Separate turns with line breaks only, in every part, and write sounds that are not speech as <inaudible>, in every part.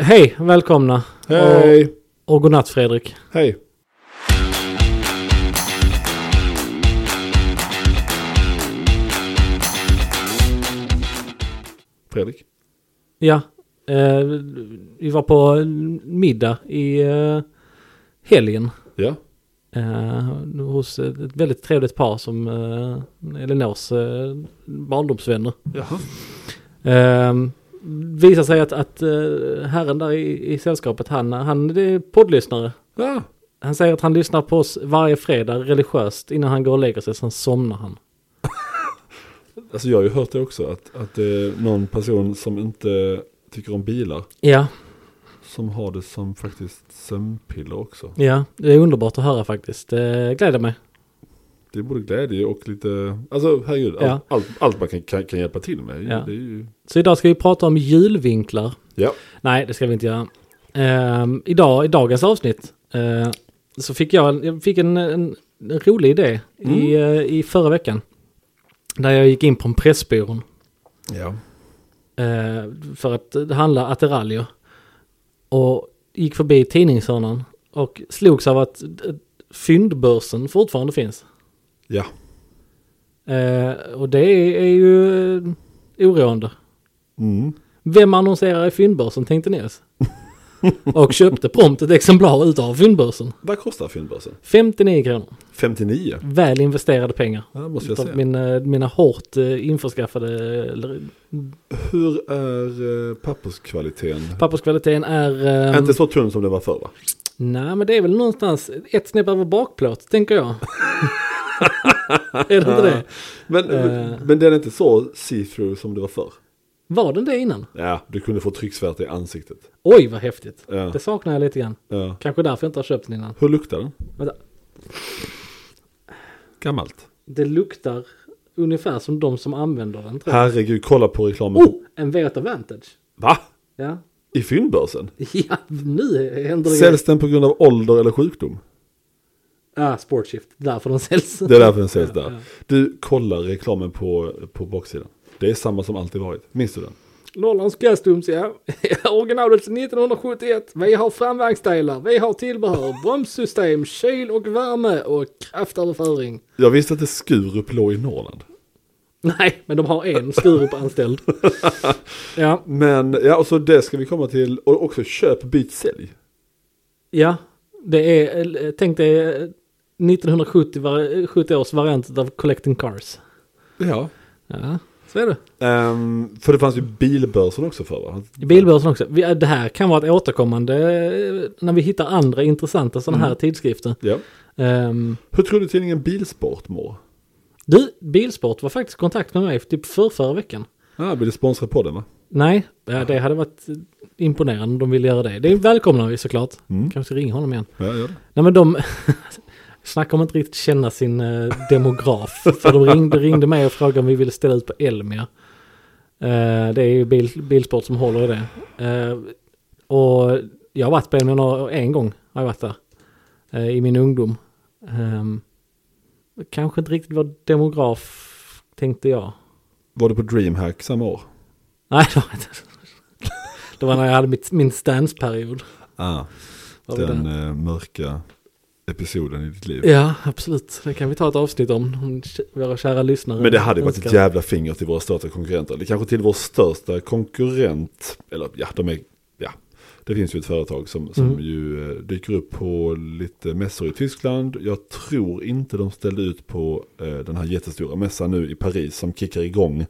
Hej, välkomna.
Hej!
Och, och godnatt Fredrik.
Hej! Fredrik?
Ja, eh, vi var på en middag i eh, helgen.
Ja?
Eh, hos ett ett väldigt trevligt par som eh, Elinors eh, barndomsvänner.
Jaha.
Eh, visar sig att, att eh, herren där i, i sällskapet, han, han är poddlyssnare.
Ja,
Han säger att han lyssnar på oss varje fredag religiöst innan han går och lägger sig, sen somnar han.
alltså jag har ju hört det också att, att det är någon person som inte tycker om bilar
Ja,
som har det som faktiskt sömnpiller också.
ja, det är underbart att höra faktiskt. Det gläder mig.
Det är både glädje och lite, alltså herregud,
Ja.
allt, allt, allt man kan, kan, kan hjälpa till med.
Ja.
Det är ju,
Så idag ska vi prata om julvinklar.
ja.
Nej, det ska vi inte göra. Ehm, idag, I dagens avsnitt eh, så fick jag, en- jag fick en, en, en rolig idé i, eh, i förra veckan. Där jag gick in på en Pressbyrån
ja.
eh, för att eh, handla attiraljer. Och gick förbi tidningshörnan och slogs av att eh, fyndbörsen fortfarande finns.
Ja.
Eh, och det är, är ju eh, oroande.
Mm.
Vem annonserar i fyndbörsen tänkte ni
<laughs>
oss? Och köpte prompt ett exemplar utav fyndbörsen.
Vad kostar filmbörsen?
59 kronor.
59.
Väl investerade pengar.
Ja, måste jag
Utav
säga.
Min, eh, mina hårt eh, införskaffade... eller,
Hur är eh, papperskvaliteten?
Papperskvaliteten är... ehm,
Inte så tunn som den var förr va?
Nej men det är väl någonstans ett snäpp över bakplåt tänker
<laughs>
jag. är det inte det?
Men,
Eh.
men den är inte så see-through som det var förr.
Var den det innan?
Ja, du kunde få trycksvärta i ansiktet.
Oj vad häftigt.
Ja.
Det saknar jag lite grann.
Ja.
Kanske därför jag inte har köpt den innan.
Hur luktar den?
Vänta.
Gammalt.
Det luktar ungefär som de som använder den tror jag.
Herregud, kolla på reklamen.
Oh! En Veta Vantage.
Va?
Ja.
I fyndbörsen?
<laughs> ja, nu händer det grejer.
Säljs den på grund av ålder eller sjukdom?
Ah, sportshift. Därför de säljs.
Det är därför den säljs
ja.
där. Du kollar reklamen på, på baksidan. Det är samma som alltid varit. Minns du den?
<laughs> Norrlands Customs, ja. <laughs> Originalet sedan 1971. Vi har framvagnsdelar, vi har
<laughs>
tillbehör, bromssystem, kyl och värme och kraftöverföring.
Jag visste att det Skurup låg i Norrland.
Nej, men de har en
<laughs>
Skurup-anställd. ja,
Men, ja, och så det ska vi komma till. Och också köp, byt, sälj.
ja. Det är, eh, tänk dig eh, 1970 var, 70 års variant av Collecting Cars.
Ja.
Ja, så är det.
Ehm, för det fanns ju bilbörsen också förr va?
I bilbörsen också. Vi, det här kan vara ett återkommande eh, när vi hittar andra intressanta sådana här tidskrifter.
Ja.
Ehm,
Hur tror du tidningen Bilsport mår?
du, Bilsport var faktiskt i kontakt med mig typ för förra veckan.
Ah, vill du sponsra podden va?
Nej, ja, det hade varit eh, imponerande om de ville göra det. Det välkomnar vi såklart.
Mm.
Kanske ska ringa honom igen.
Ja, gör det.
Nej men de... <laughs> Snacka om att inte riktigt känna sin eh, demograf. För de ringde, ringde mig och frågade om vi ville ställa ut på Elmia. Eh, det är ju bil, Bilsport som håller i det. Eh, och jag har varit på Elmia några, en gång. Har jag varit där. eh, I min ungdom. Ehm, kanske inte riktigt var demograf tänkte jag.
Var du på DreamHack samma år?
Nej, det var inte. <laughs> Det var när jag hade mitt, min stansperiod.
Ah,
Var väl
den
det.
eh, mörka episoden i ditt liv.
Ja, absolut. Det kan vi ta ett avsnitt om. om k- våra kära lyssnare.
Men det hade ju varit ett
önskar.
jävla finger till våra största konkurrenter. Det kanske till vår största konkurrent, eller ja, de är, ja. Det finns ju ett företag som, som ju eh, dyker upp på lite mässor i Tyskland. Jag tror inte de ställde ut på eh, den här jättestora mässan nu i Paris som kickar igång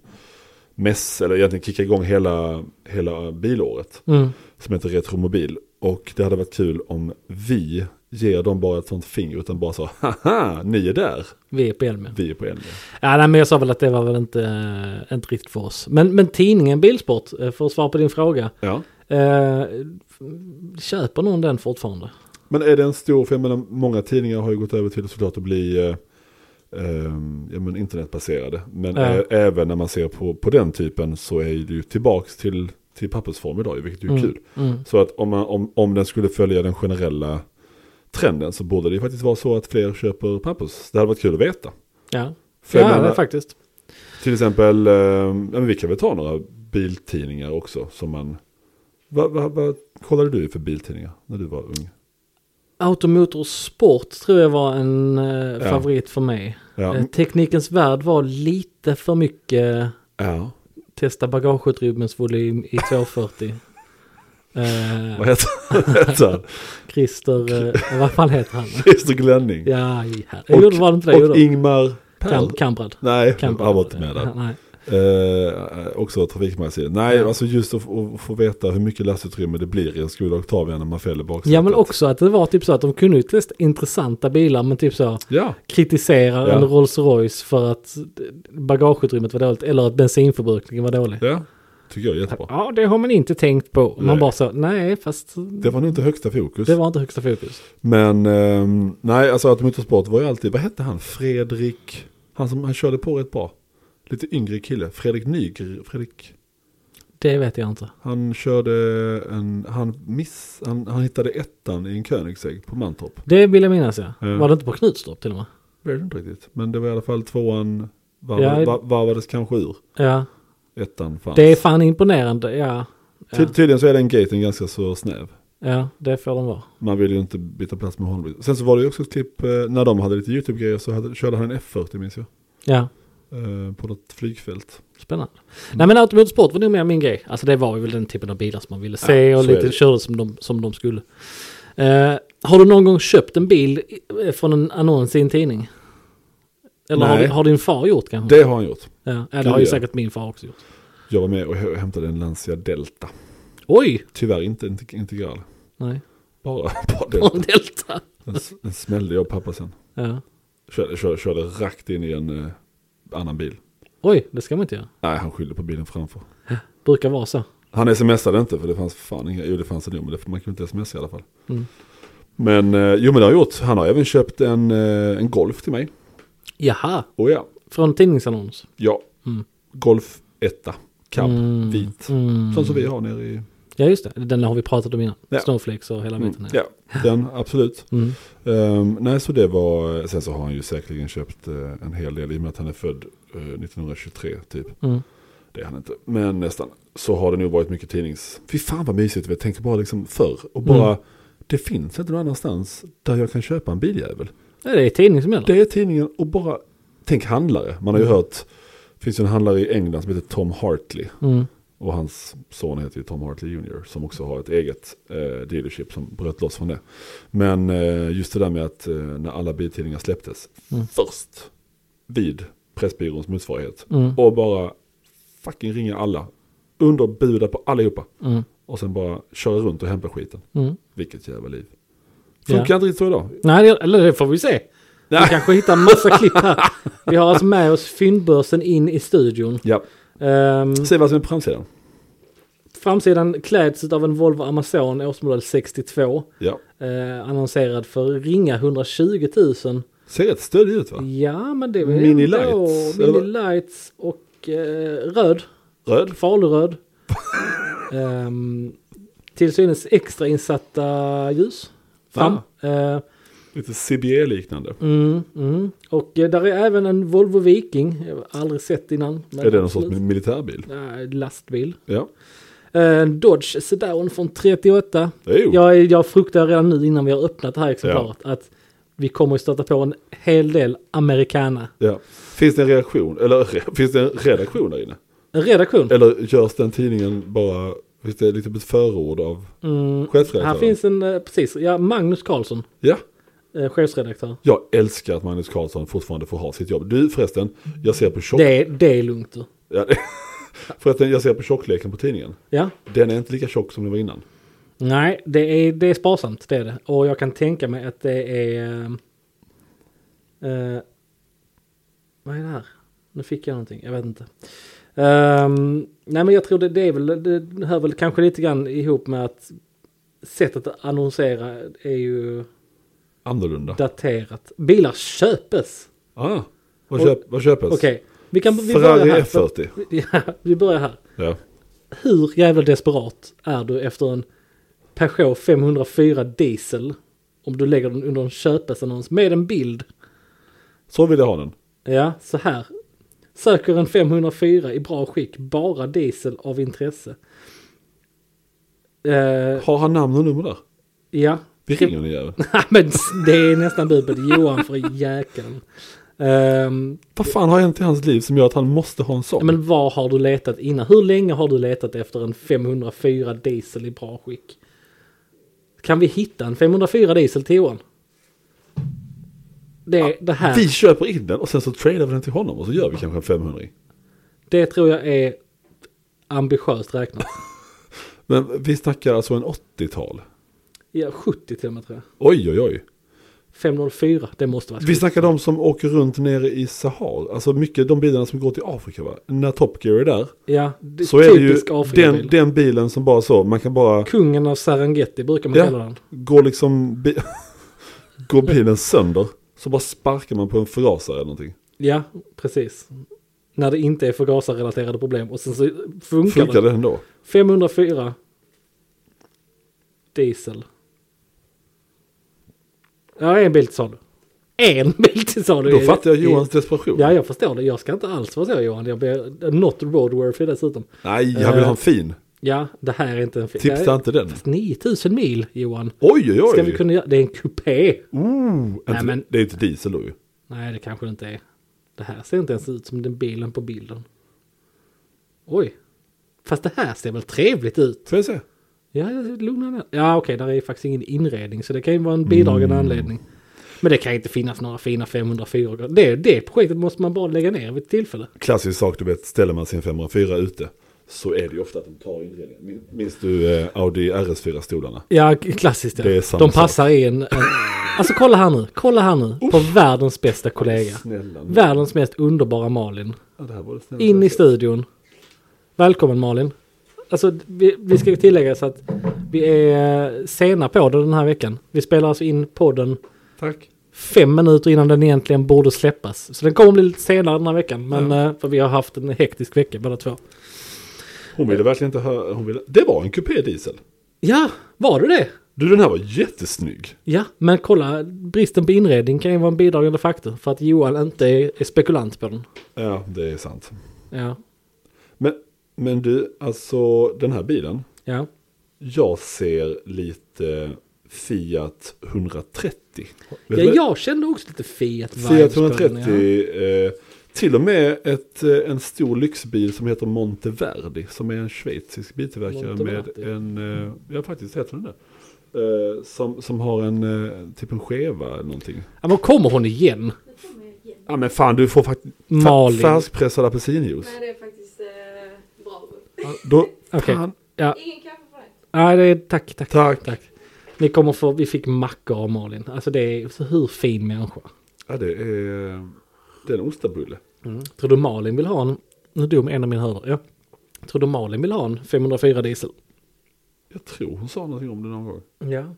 mäss, eller egentligen kickar igång hela, hela bilåret.
Mm.
som heter Retromobil. Och det hade varit kul om vi ger dem bara ett sånt finger utan bara så haha, ni är där,
Vi är på Elmia.
vi är på Elmia.
Ja, nej, men jag sa väl att det var väl inte, eh, inte riktigt för oss. Men, men tidningen Bilsport, eh, för att svara på din fråga.
Ja.
Eh, köper någon den fortfarande?
Men är det en stor, för jag menar många tidningar har ju gått över till såklart att bli eh, eh, ja, men internetbaserade. Men
Ja.
ä- även när man ser på, på den typen så är det ju tillbaks till, till pappersform idag, vilket ju är kul.
Mm.
Så att om, man, om, om den skulle följa den generella trenden så borde det ju faktiskt vara så att fler köper pappers. Det hade varit kul att veta.
Ja,
För jag
ja det
menar-
är faktiskt.
Till exempel, eh, ja, men vi kan väl ta några biltidningar också som man Vad, vad, vad kollade du för biltidningar när du var ung?
Automotor Sport tror jag var en eh,
Ja.
favorit för mig.
Ja.
Eh, Teknikens värld var lite för mycket
ja.
testa bagageutrymmens volym i
<laughs>
240. Eh,
Vad heter vad heter han?
Christer, eh, <laughs> vad fan heter han?
Christer Glänning.
Ja, i här. Jo, det var det inte det. Jo,
och
då.
Ingmar Pärl.
Kam, Kamprad.
Nej,
Kamprad.
han var inte med där.
Nej.
Eh, också trafikmagasin. Nej,
Ja.
alltså just att, att få veta hur mycket lastutrymme det blir i en Skoda Octavia när man fäller baksätet.
Ja, men också att det var typ så att de kunde ju testa intressanta bilar, men typ så
Ja,
kritisera
Ja.
en Rolls Royce för att bagageutrymmet var dåligt eller att bensinförbrukningen var dålig.
ja. Tycker jag är jättebra.
Ja, det har man inte tänkt på. Man
Nej.
bara så, nej, fast
Det var nog inte högsta fokus.
det var inte högsta fokus.
Men ehm, nej, alltså Automotorsport var ju alltid, vad hette han? Fredrik, han som han körde på rätt bra. Lite yngre kille, Fredrik Nygr, Fredrik.
Det vet jag inte.
Han körde en, han miss, han, han hittade ettan i en Koenigsegg på Mantorp.
Det vill jag minnas ja.
Ja.
Var det inte på Knutstorp till och med?
Jag vet inte riktigt, men det var i alla fall tvåan varvade,
Ja.
var, varvades kanske ur.
Ja,
Ettan fanns.
det är fan imponerande. Ja, ja,
Ty, tydligen så är den gaten ganska så snäv.
ja det får de vara.
Man vill ju inte byta plats med honom. Sen så var det ju också ett klipp, eh, när de hade lite YouTube-grejer så hade, körde han en F40 minns jag.
Ja,
Eh, på något flygfält.
spännande. Nej men automotorsport var nog mer min grej. Alltså det var ju väl den typen av bilar som man ville se
Ja,
och
så är
lite
det.
körde som de, som de skulle. Eh, har du någon gång köpt en bil i- från en annons i en tidning? Eller har,
Nej.
din- har din far gjort kanske?
Det har han gjort.
ja, ja, det har ju
Gud, ja.
säkert min far också gjort.
Jag var med och hä- hämtade en Lancia Delta.
Oj!
Tyvärr inte en inte- integral.
Nej, <laughs>
Bara, bara
från
Delta.
Delta.
Den, s- den smällde jag och pappa sen.
Ja.
Körde, körde, körde rakt in i en eh, annan bil.
Oj, det ska man inte göra.
Nej, han skyllde på bilen framför.
Brukar vara så.
Han smsade inte för det fanns fan inga, jo det fanns det nog, men det, man kunde inte smsa i alla fall.
Mm.
Men eh, jo men det har jag gjort. Han har även köpt en, eh, en Golf till mig.
Jaha,
Och ja,
från tidningsannons.
ja.
Mm.
Golf etta. Cab,
Mm.
vit.
Mm.
Sån som vi har nere i...
Ja just det, den har vi pratat om innan.
Ja. Mm.
Snowflakes och hela biten.
Ja, den absolut.
Mm.
Ehm, nej, så det var, sen så har han ju säkerligen köpt eh, en hel del i och med att han är född eh, 1923 typ.
Mm.
Det är han inte, men nästan. Så har det nog varit mycket tidnings... Fy fan vad mysigt, jag tänker bara liksom förr. Och bara, det finns inte någon annanstans där jag kan köpa en biljävel.
Ja, det är tidning som gäller.
Det är tidningen och bara, tänk handlare. Man har ju hört, det finns ju en handlare i England som heter Tom Hartley.
Mm.
Och hans son heter ju Tom Hartley Jr. som också har ett eget eh, dealership som bröt loss från det. Men eh, just det där med att eh, när alla biltidningar släpptes
Mm.
först vid Pressbyråns motsvarighet
Mm.
och bara fucking ringa alla, underbuda på allihopa
Mm.
och sen bara köra runt och hämta skiten.
Mm.
Vilket jävla liv.
Ja.
Funkar inte riktigt så idag.
Nej, det- eller det får vi se. Vi kanske hittar en
<laughs>
massa klipp här. Vi har alltså med oss fyndbörsen in i studion.
Ja.
Ehm,
Se vad som är på framsidan.
framsidan kläds av en Volvo Amazon årsmodell 62.
Ja.
Eh, annonserad för ringa 120 000.
Ser rätt stödig ut
Mm.
va?
Ja, men det är väl
Mini
ändå
lights, eller
Mini
vad?
lights och eh, röd.
Röd. <laughs>
Faluröd. um, till synes extra insatta ljus. Fram. Eh,
Lite CBE-liknande.
mm, mm. Och eh, där är även en Volvo Viking. Jag har aldrig sett innan. men
Är det någon
absolut.
sorts mil- militärbil?
Nej, lastbil.
Ja.
Eh, En Dodge Sedan från 38.
Jo.
Jag, är- jag fruktar redan nu innan vi har öppnat det här exemplaret att vi kommer att stöta på en hel del americana.
Ja. Finns det en reaktion, eller <laughs> re- finns det en redaktion där inne?
En redaktion.
Eller görs den tidningen bara, finns det lite ett förord av
Mm, här
chefredaktören?
finns en, eh, precis, ja, Magnus Karlsson,
Ja,
eh, chefsredaktör.
jag älskar att Magnus Karlsson fortfarande får ha sitt jobb. Du förresten, jag ser på tjock...
Det, det är lugnt du.
Ja, <laughs> förresten, jag ser på tjockleken på tidningen.
Ja,
Den är inte lika tjock som den var innan.
Nej, det är, det är sparsamt. Det är det. Och jag kan tänka mig att det är... eh, eh, vad är det här? Nu fick jag någonting. Jag vet inte. Ehm, nej, men jag tror det, det är väl... Det hör väl kanske lite grann ihop med att sättet att annonsera är ju
Annorlunda.
daterat. Bilar köpes!
Ah, vad,
Och-
köp, vad köpes?
Okej, vi kan vi börjar
Ferrari
här.
F40.
<laughs> Ja, vi börjar här.
Ja.
Hur jävla desperat är du efter en Peugeot 504 diesel? Om du lägger den under en köpesannons med en bild.
Så vill jag ha den.
Ja, så här. Söker en 504 i bra skick, bara diesel av intresse. Eh,
Har han namn och nummer där?
ja. <laughs>
Vi ringer den jäveln.
Nej, men det är nästan dubbelt. Johan för jäkeln. Ehm,
<laughs> Vad fan har hänt i hans liv som gör att han måste ha en
ja,
sån?
men var har du letat innan? Hur länge har du letat efter en 504 diesel i bra skick? Kan vi hitta en 504 diesel till Johan? Det, det här,
Vi köper in den och sen så tradar vi den till honom och så gör vi kanske en 500
det tror jag är ambitiöst räknat.
Men vi snackar alltså en 80-tal.
Ja, 70 till och med tror jag.
Oj, oj, oj.
504, det måste vara
Vi snackar de som åker runt nere i Sahara. Alltså mycket de bilarna som går till Afrika va? När Top Gear är där.
Ja, det,
Så är det ju
typisk Afrikabil.
den, den bilen som bara så, man kan bara
Kungen av Serengeti brukar man
Ja.
kalla den.
gå liksom, bi- <laughs> går bilen sönder. Så bara sparkar man på en förgasare eller någonting.
Ja, precis. När det inte är förgasarrelaterade problem. Och sen så funkar,
Funkar
det.
det ändå?
504 diesel. Ja, en bil till salu. En <laughs> bil till salu.
Då fattar jag Johans desperation.
Ja, jag förstår det. Jag ska inte alls vara så Johan. Jag ber, not roadworthy dessutom.
Nej, han vill ha
Eh,
en fin.
Ja, det här är inte en... fi- Det
Tipsa
här-
inte den.
Fast 9000 mil Johan.
Oj, oj, oj.
Ska vi kunna göra? Det är en kupé.
Ooh, inte,
Nej, men-
Det är ju inte diesel då ju.
Nej, det kanske det inte är. Det här ser inte ens ut som den bilen på bilden. Oj. Fast det här ser väl trevligt ut?
Får jag se?
Ja, lugna ner Ja, okej, där är faktiskt ingen inredning. Så det kan ju vara en
Mm.
bidragande anledning. Men det kan inte finnas några fina 504 det, det projektet måste man bara lägga ner vid ett tillfälle.
Klassisk sak, du vet, ställer man sin 504 ute så är det ju ofta att de tar inredningen. Min- Minns du eh, Audi RS4-stolarna?
Ja, k- klassiskt. Ja.
Det är samma
De
sak.
passar i en... en... Alltså kolla här nu, kolla här nu. På världens bästa kollega.
Snälla nu.
Världens mest underbara Malin.
Ja, det här var det snälla.
In i studion. Välkommen Malin. Alltså, vi, vi ska ju tillägga så att vi är eh, sena på det den här veckan. Vi spelar alltså in podden
Tack.
fem minuter innan den egentligen borde släppas. Så den kommer bli lite senare den här veckan. Men eh, för vi har haft en hektisk vecka båda två.
Hon ville verkligen inte höra. Hon ville... Det var en kupé diesel.
Ja, var det det?
Du, den här var jättesnygg.
Ja, men kolla. Bristen på inredning kan ju vara en bidragande faktor. För att Johan inte är, är spekulant på den.
Ja, det är sant.
Ja,
Men, men du, alltså den här bilen.
ja.
Jag ser lite Fiat 130. Vet du
ja
vad-
jag kände också lite Fiat vibes på den,
Fiat 130. Eh, till och med ett, eh, en stor lyxbil som heter Monteverdi. Som är en schweizisk biltillverkare
Monteverdi.
med en, eh, ja faktiskt heter den det. Eh, som, som har en, eh, typ en skeva eller någonting.
Ja, men kommer hon igen?
Ja men fan du får faktiskt
Malin.
färskpressad apelsinjuice.
Nej, det är faktiskt eh, bra.
Ja, Då,
Okej.
fan,
Ja,
Ingen kaffe på dig.
nej, det är, tack, tack.
tack.
Tack. Ni kommer få, vi fick mackor av Malin. Alltså det är, så hur fin människa.
Ja det är, det är en ostabulle.
Mm. Tror du Malin vill ha en, nu dom en av mina hörder, ja. Tror du Malin vill ha en 504 diesel?
Jag tror hon sa någonting om det någon gång.
Ja.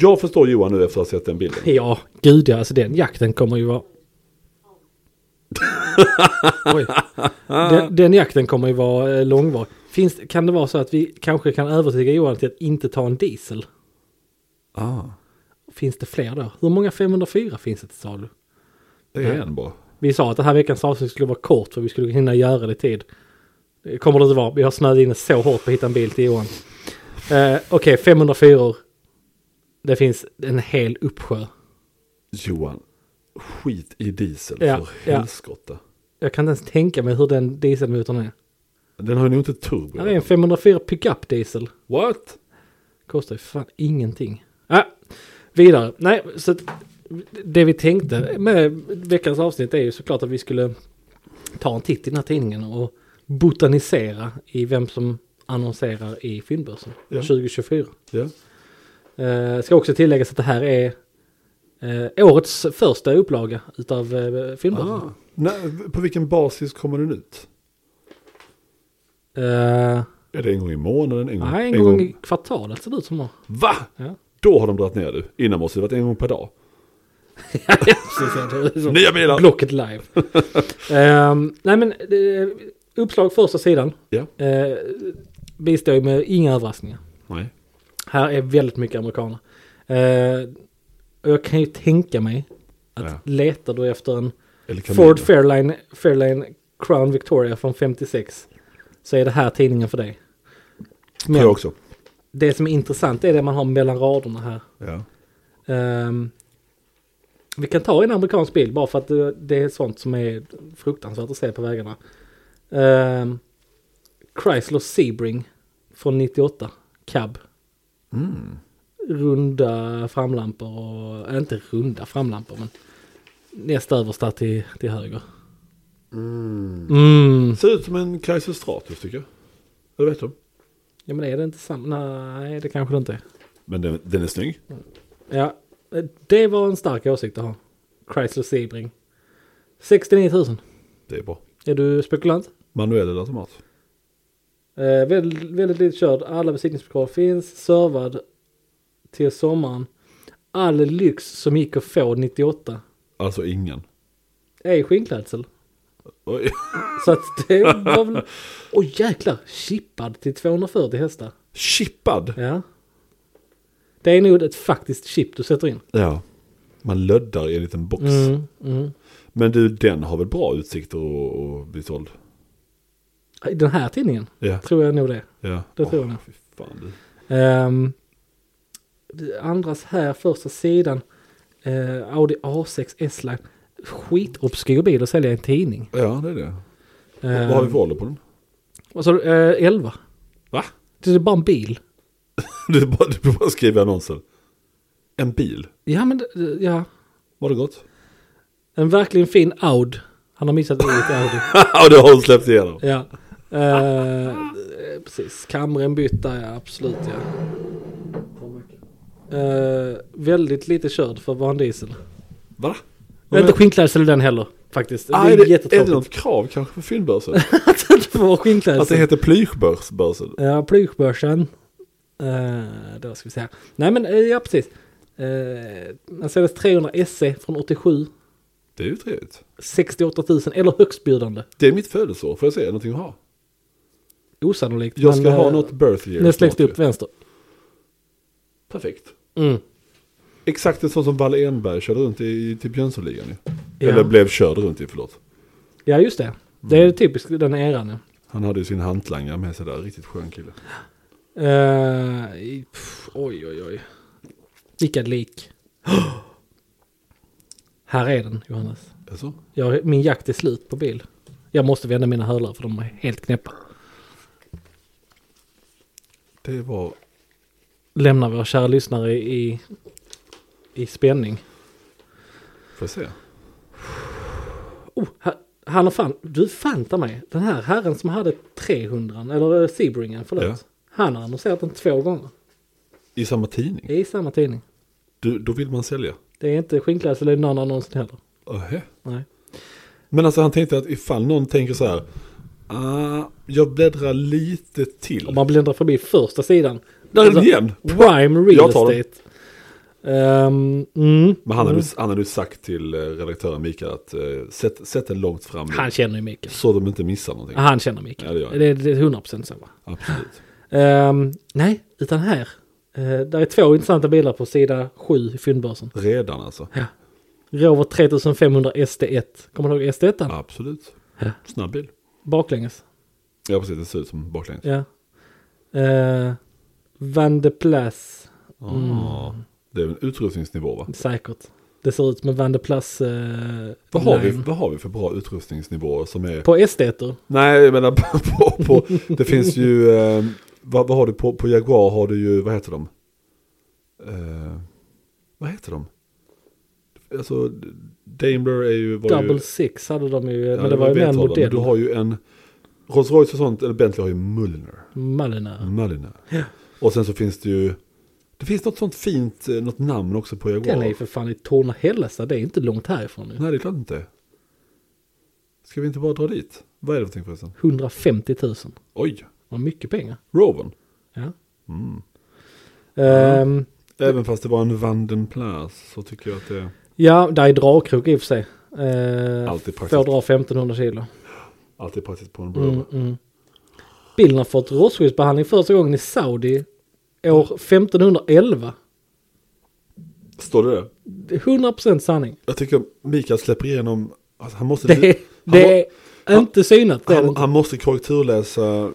Jag förstår Johan nu efter att ha sett den bilden.
Ehm, ja, gud ja, alltså den jakten kommer ju vara... <laughs> Oj. Den, den jakten kommer ju vara eh, långvarig. Finns, kan det vara så att vi kanske kan övertyga Johan till att inte ta en diesel?
Ah,
Finns det fler då? Hur många 504 finns det till salu?
det är en bara.
Vi sa att den här veckans avsnitt skulle vara kort för vi skulle hinna göra det i tid. Det kommer det inte vara. Vi har snöat in så hårt på att hitta en bil till Johan. Eh, Okej, 504. Det finns en hel uppsjö.
Johan, skit i diesel
Ja,
för
ja.
helskotta.
Jag kan inte ens tänka mig hur den dieselmotorn är.
Den har ju nog inte turbo.
Här är en 504 pickup diesel.
What?
Kostar ju fan ingenting. Ah, vidare. Nej, så att det vi tänkte med veckans avsnitt är ju såklart att vi skulle ta en titt i den här tidningen och botanisera i vem som annonserar i fyndbörsen
Ja.
2024.
Ja.
Eh, ska också tilläggas att det här är eh, årets första upplaga utav eh, fyndbörsen.
Ah. Nej, på vilken basis kommer den ut?
Eh,
Är det en gång i månaden? En gång,
nej, Mm. en gång i kvartalet ser det ut som. då.
Va?
Ja.
Då har de dragit ner det. Innan måste det varit en gång per dag. Nya bilar!
Blocket
<laughs>
live. Ehm, nej men eh, uppslag första sidan.
Ja.
Eh, vi står ju med inga överraskningar.
Nej.
Här är väldigt mycket amerikaner. Eh, och jag kan ju tänka mig att
Ja.
letar du efter en
Eller kan
Ford
du-
Fairlane, Fairlane Crown Victoria från 56 så är det här tidningen för dig.
Tror
Men
jag också.
det som är intressant är det man har mellan raderna här.
Ja.
Ehm, vi kan ta en amerikansk bil bara för att eh, det är sånt som är fruktansvärt att se på vägarna. Ehm, Chrysler Sebring från 98, cab. Runda framlampor och, eh, inte runda framlampor men näst översta till, till höger. Mm.
Ser ut som en Kaiser Stratus tycker jag. Eller vet du?
Ja men är det inte samma? Nej det kanske det inte är.
Men den, den är snygg.
Ja, det var en stark åsikt att ha. Chrysler Sebring. 69 000.
Det är bra.
Är du spekulant?
Manuell eller automat?
Eh, väldigt, väldigt lite körd. Alla besiktningsprotokoll finns. Servad till sommaren. All lyx som gick att få 98
Alltså ingen.
är skinnklädsel.
Oj.
Så att det var väl... Åh jäklar! Chippad till 240 hästar.
Chippad!
Ja. Det är nog ett faktiskt chip du sätter in.
Ja. Man löddar i en liten box.
Mm, mm.
Men du, den har väl bra utsikter att att bli såld?
I Den här tidningen
Ja.
tror jag nog det.
ja.
Det tror
Åh,
jag.
fy fan, du.
Ehm, det andras här, första sidan. Eh, Audi A6 S-Line. Skitobskyr bil att sälja i en tidning.
Ja, det är det.
Ehm,
Vad har vi för ålder på den?
Vad sa du? Eh, 11?
Va? <laughs>
Det är bara en bil.
Du bara, du bara skriver i annonsen. En bil.
Ja, men det- ja.
Var det gott? <laughs>
En verkligen fin Aud. Han har missat i ett
<laughs>
Audi.
Ja, det har hon släppt igenom.
Ja. Eh, eh, precis. Kamren bytt där, ja. Absolut, ja. Eh, väldigt lite körd för att vara en diesel.
Va?
Men, inte skinnklädsel i den heller, faktiskt.
Ah,
det
är,
är,
det, är det
<laughs>
Alltså,
jättetråkigt.
något krav kanske för fyndbörsen?
<laughs> att det inte får vara
Att det
skinnklädsel.
heter plyschbörsen?
Ja, plygbörsen. Eh, då ska vi se här. Nej men eh, ja precis. Uh, Mercedes 300 SE från 87.
Det är ju trevligt.
68 000 eller högstbjudande.
Det är mitt födelseår, får jag se någonting att ha?
Osannolikt.
Jag ska
men,
ha
eh,
något birth year.
Näst
snart
längst
ju.
upp vänster.
Perfekt.
Mm.
Exakt en sån som Valle Enberg körde runt i till Jönssonligan ju.
Ja.
Eller Mm. blev körd runt i, förlåt.
ja just det. Det är typiskt den eran. ja.
Han hade ju sin hantlangare med sig där, riktigt skön kille.
Eh, i- pff, oj oj oj. Vilka lik. <gasps> här är den Johannes.
Alltså?
Jag, min jakt är slut på bil. Jag måste vända mina hörlurar för de är helt knäppa.
Det var...
lämnar våra kära lyssnare i, i spänning.
Får jag se?
Oh, ha- han har fan, du fanta mig. Den här herren som hade 300, eller eh, Sebringen, förlåt.
Ja.
Han har annonserat den två gånger
I samma tidning?
i samma tidning.
Du, då vill man sälja?
Det är inte skinnklädsel eller någon annons heller.
Öhä.
Nej.
Men alltså han tänkte att ifall någon tänker så här. Ah, jag bläddrar lite till.
Om man bläddrar förbi första sidan.
Där är den igen!
Prime Real
Jag tar den.
Estate. Ehm, mm.
Men han har, nu, han har nu sagt till eh, redaktören Mikael att eh, sätt, sätt den långt fram nu,
Han känner ju Mikael.
så de inte missar någonting.
Han känner Mikael.
Ja, det gör han.
det, det är 100% så. Va?
Absolut.
Ehm, nej, utan här. Uh, där är två intressanta bilar på sida 7 i fyndbörsen.
Redan alltså.
Rover 3500 SD1. Kommer du ihåg SD1?
Absolut.
Ja.
Snabb bil.
Baklänges.
Ja precis, det ser ut som baklänges.
Ja. Uh, Van de Plas.
Ah, det är en utrustningsnivå va?
Säkert. Det ser ut som en Van de Plas eh,
Vad har, vi,
line.
vad har vi för bra utrustningsnivåer som är...
På SD1
Nej, jag menar på... på, på det finns ju... Eh, vad, vad har du på, på Jaguar har du ju, vad heter de? Eh, vad heter de? Alltså, Daimler är ju... Var ju,
Double Six hade de ju.
Ja,
men det var ju mer en
V12, men
modell.
Du har ju en... Rolls Royce och sånt, eller Bentley har ju Mm. Mulliner.
Malina.
Mulliner. Och sen så finns det ju... Det finns något sånt fint, eh, något namn också på Jaguar.
Den är ju för fan i Torna-Hällestad. Det är inte långt härifrån nu.
Nej, det är klart inte. Ska vi inte bara dra dit? Vad är det för någonting förresten?
150 000.
Oj,
Vad mycket pengar.
Roven.
Ja.
Mm.
Ehm,
Även fast det var en Vandenplas så tycker jag att det...
ja, där är dragkrok i och för sig. Uh,
Alltid praktiskt.
Får dra 1500 kilo.
Alltid praktiskt på en bro.
Mm, mm. Bilen har fått rostskyddsbehandling första gången i Saudi år 1511.
Står det det?
Det är 100% sanning.
Jag tycker Mikael släpper igenom... Alltså, han måste...
Det, är-
han,
det är inte synat. Det är det
han,
inte.
han måste korrekturläsa...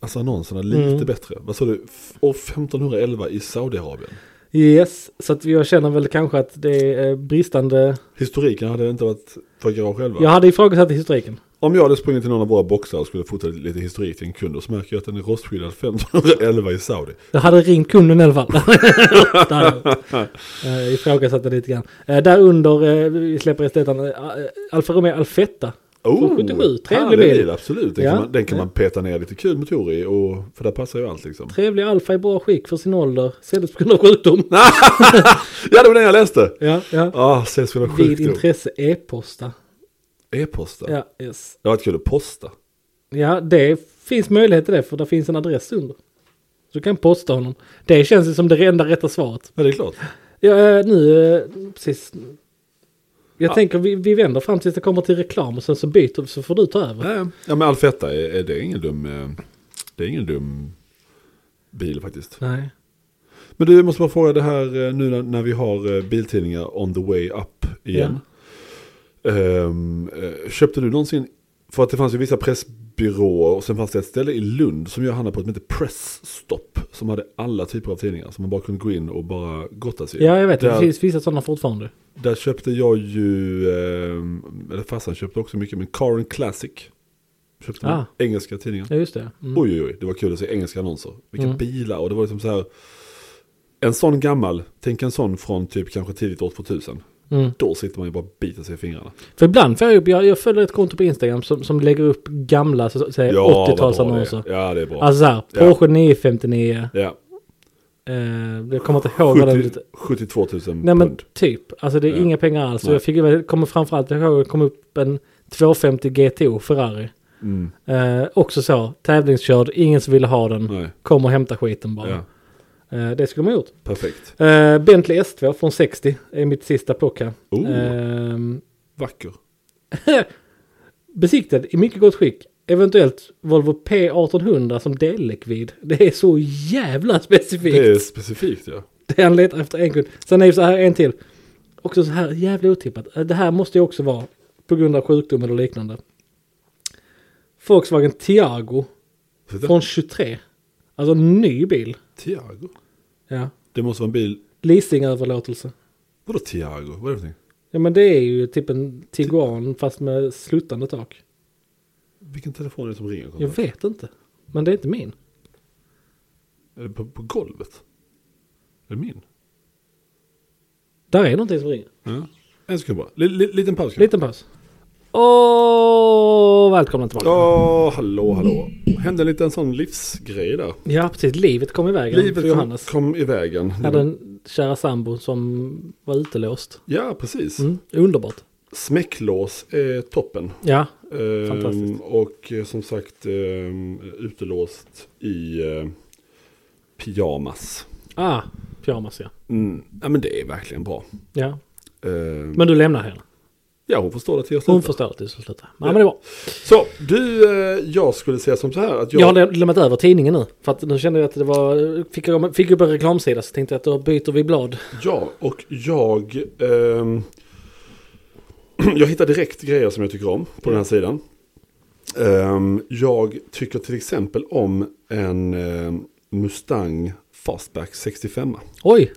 alltså annonserna lite
Mm.
bättre. Vad sa du? F- År 1511 i Saudiarabien.
Yes, så att jag känner väl kanske att det är eh, bristande.
Historiken hade inte varit för garage själva.
Jag hade ifrågasatt historiken.
Om jag hade sprungit till någon av våra boxar och skulle fota lite historik till en kund och så märker jag att den är rostfriddad 1511 i Saudi.
Jag hade ringt kunden i alla fall. <laughs> Det hade jag gjort. Eh, Ifrågasatt det lite grann. Eh, Där under, eh, vi släpper esteten, eh, Alfa Romeo Alfetta. Från 77, trevlig
Oh, härlig
bil.
Absolut, den,
Ja.
kan man, den kan man peta ner lite kul motor i och för där passar ju allt liksom.
Trevlig Alfa i bra skick för sin ålder. Säljs på grund av sjukdom.
Ja, det var den jag läste!
Ja, ja.
Ah, ses för någon
Vid
sjukdom.
intresse e-posta.
E-posta.
Ja, yes.
Det var kul att posta.
ja, det finns möjlighet till det för det finns en adress under. Så du kan posta honom. Det känns ju som det enda rätta svaret.
Ja, det är klart.
Ja, eh, nu, eh, precis. Jag tänker vi, vi vänder fram tills det kommer till reklam och sen så byter vi så får du ta över.
Nej, Ja, men Alfetta, är, är det, är ingen dum, eh, det är ingen dum bil faktiskt.
Nej.
Men du, jag måste bara fråga det här eh, nu när, när vi har eh, biltidningar on the way up igen. Ehm, eh, köpte du någonsin, för att det fanns ju vissa pressbyråer och sen fanns det ett ställe i Lund som jag handlade på som hette Pressstopp. Som hade alla typer av tidningar som man bara kunde gå in och bara gotta sig i.
Ja, jag vet. Det
Där,
finns vissa sådana fortfarande.
där köpte jag ju, ehm, eller farsan köpte också mycket, men Car and Classic. Köpte man
Ah.
engelska tidningar.
Ja, just det. Mm.
Oj, oj, oj, det var kul att se engelska annonser. Vilka
Mm.
bilar och det var liksom så här. En sån gammal, tänk en sån från typ kanske tidigt år 2000.
Mm.
Då sitter man ju bara och biter sig i fingrarna.
För ibland får jag upp, jag, jag följer ett konto på Instagram som, som lägger upp gamla så, att säga,
vad bra
80-talsannonser.
det är. Ja, det är bra.
Alltså såhär,
Ja.
Porsche 959.
ja.
Eh, jag kommer inte ihåg vad den
70
lite.
72 000
Nej men
pund.
typ. Alltså det är
Ja.
inga pengar alls. Och
Nej.
Jag fick ju- kommer framförallt jag ihåg att det kom upp en 250 GTO Ferrari.
Mm,
Eh, också så, tävlingskörd, ingen som ville ha den.
nej,
Kom och hämta skiten bara.
Mm. ja,
Eh, det skulle man gjort.
perfekt.
Eh, Bentley S2 från 60 är mitt sista plock här.
Oh.
Ehm,
Vacker.
Besiktad i mycket gott skick. Eventuellt Volvo P1800 som dellikvid. Det är så jävla specifikt.
Det är specifikt ja.
<laughs> Det han letar efter en kund. Sen är det så här en till. Också så här jävla otippat. Eh, Det här måste ju också vara på grund av sjukdom eller liknande. Volkswagen Tiago
Titta.
från 23. Alltså en ny bil.
Tiago.
Ja.
Det måste vara en bil.
Leasingöverlåtelse.
Vadå Tiago? Vad är det för någonting?
Ja men det är ju typ en Tiguan fast med slutande tak.
Vilken telefon är det som ringer?
Jag vet inte. Men det är inte min.
Är det på, på golvet? Är det min?
Där är någonting som ringer.
Ja. En sekund bara. L- l- liten paus. kan vi?
Liten paus. Åh, välkomna tillbaka.
Ja, hallå, hallå. Hände en liten sån livsgrej där.
Ja precis, livet kom i vägen
Livet
för
kom,
Johannes.
kom i vägen.
Hade en kära sambo som var utelåst.
Ja, precis.
Mm, underbart.
Smäcklås är toppen.
Ja,
Ehm,
Fantastiskt.
och eh, som sagt ehm, utelåst i eh, pyjamas.
ah, pyjamas ja.
Mm. Ja, men det är verkligen bra.
ja.
Ehm,
Men du lämnar henne.
ja, hon förstår det till jag
Hon
slutar.
förstår att du ska sluta. Ja, men det är bra.
Så, du, eh, jag skulle säga som så här att jag...
Jag har lä- lämnat över tidningen nu. För att nu kände jag att det var... Fick, jag, fick upp en reklamsida så tänkte jag att då byter vi blad.
Ja, och jag... ehm, <clears throat> jag hittar direkt grejer som jag tycker om på den här sidan. Ehm, jag tycker till exempel om en ehm, Mustang Fastback 65.
Oj!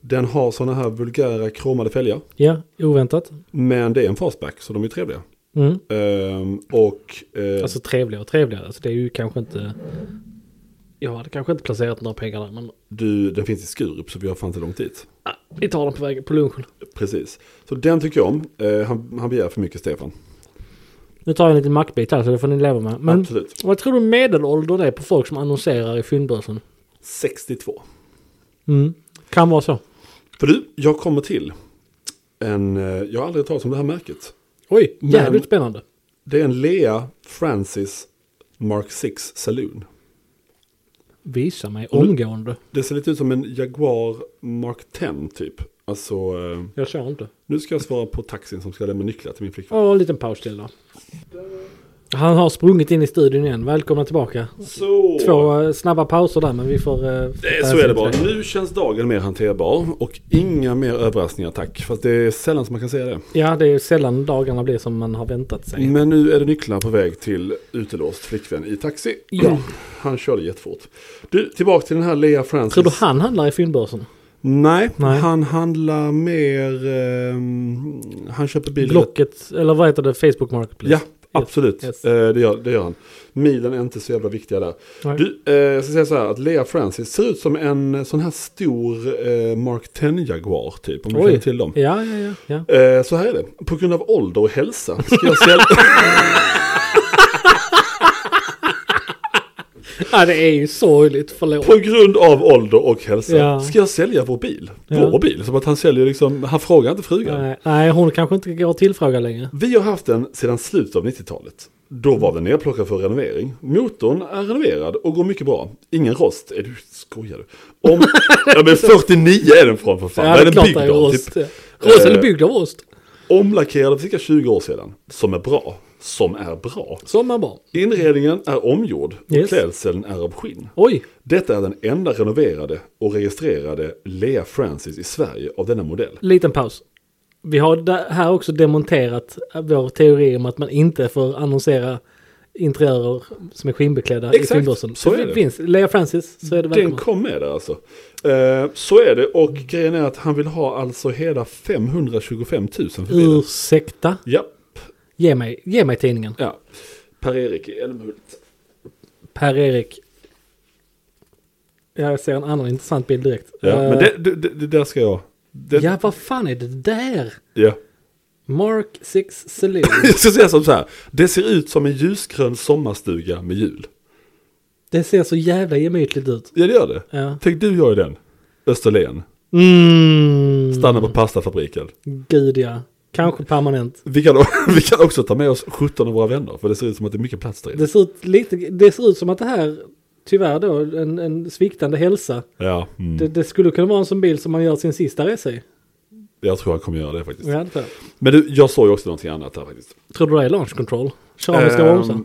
Den har sådana här vulgära kromade fälgar.
Ja, oväntat.
Men det är en Fastback så de är trevliga.
Mm.
Ehm, och... eh,
Alltså trevligare och trevligare. Alltså det är ju kanske inte... Jag hade kanske inte placerat några pengar där men...
du, den finns i Skurup så vi har fan inte långt dit.
Ah, vi tar den på vägen på lunchen.
Precis. Så den tycker jag om. Eh, han, han begär för mycket Stefan.
Nu tar jag en liten mackbit här så det får ni leva med. Men
Absolut.
vad tror du medelåldern är på folk som annonserar i fyndbörsen?
62.
Mm. Kan vara så.
För du, jag kommer till en, eh, jag har aldrig hört talas om det här märket.
Oj, jävligt
Men-
spännande.
Det är en Lea Francis Mark 6 Saloon.
Visa mig omgående.
Det ser lite ut som en Jaguar Mark 10 typ. Alltså, eh,
Jag kör inte.
nu ska jag svara på taxin som ska lämna nycklar till min flickvän.
Ja, en liten paus till då. Han har sprungit in i studion igen. Välkomna tillbaka.
Så.
Två eh, snabba pauser där men vi får... eh,
Det är, så Mm. är det bara. Nu känns dagen mer hanterbar och inga mer överraskningar tack. Fast det är sällan som man kan säga det.
Ja det är ju sällan dagarna blir som man har väntat sig.
Men nu är det nycklarna på väg till utelåst flickvän i taxi.
Ja.
Han körde jättefort. Du, tillbaka till den här Lea Francis.
Tror du han handlar i fyndbörsen?
Nej,
Nej.
han handlar mer... ehm, han köper bilen.
Blocket, eller vad heter det? Facebook Marketplace?
Ja, absolut.
Yes.
Eh, det, gör, det gör han. Milen är inte så jävla viktiga där.
Nej.
Du, eh, jag ska säga så här att Lea Francis ser ut som en sån här stor eh, Mark 10-jaguar typ. Om du
Oj.
känner till dem.
Ja, ja, ja. ja.
Eh, så här är det. På grund av ålder och hälsa ska jag sälja...
<laughs> ja det är ju sorgligt, förlåt.
På grund av ålder och hälsa
Ja.
ska jag sälja vår bil.
Ja.
Vår bil. Som att han säljer liksom, han frågar inte frugan.
Nej, nej, hon kanske inte går att tillfråga längre.
Vi har haft den sedan slutet av 90-talet. Då var den nerplockad för renovering. Motorn är renoverad och går mycket bra. Ingen rost. Är du, skojar du?
<laughs>
Om, ja men 49 är den från för fan. Vad är den byggd av? Typ,
rost. Rost
Eh,
eller byggd av rost.
omlackerad för cirka 20 år sedan. Som är bra. Som är bra.
Sommarbarn.
Inredningen är omgjord och
Yes.
klädseln är av skinn.
Oj,
Detta är den enda renoverade och registrerade Lea Francis i Sverige av denna modell.
liten paus. Vi har där- här också demonterat vår teori om att man inte får annonsera interiörer som är skinnbeklädda
Exakt,
i filmbörsen.
så är det.
Finns Lea Francis, så är det
Den
välkommen.
kom med där alltså. Eh, så är det och grejen är att han vill ha alltså hela 525 000 för bilen.
Ursäkta,
Japp,
ge mig, ge mig tidningen.
ja. Per-Erik i Älmhult.
Per-Erik. Ja, Jag ser en annan intressant bild direkt.
Ja,
Eh,
men det, det, det, det där ska jag... Det,
ja, vad fan är det där?
ja. <laughs>
Mark 6 Saloon.
Jag ska säga som så här. Det ser ut som en ljusgrön sommarstuga med jul.
det ser så jävla gemytligt ut.
Ja, det gör det.
Ja.
Tänk du gör ju den. Österlen.
Mm,
Stannar på pastafabriken.
gud ja. Kanske permanent.
Vi kan, <laughs> vi kan också ta med oss 17 av våra vänner. För det ser ut som att det är mycket plats där inne.
Det ser ut, lite, det ser ut som att det här, tyvärr då, en, en sviktande hälsa.
Ja, mm.
Det, det skulle kunna vara en sån bil som man gör sin sista resa i.
jag tror han kommer göra det faktiskt.
Ja, det tror jag.
Men du, jag såg ju också någonting annat här faktiskt.
Tror du det är launch control? Keramiska
Ehm,
bromsar?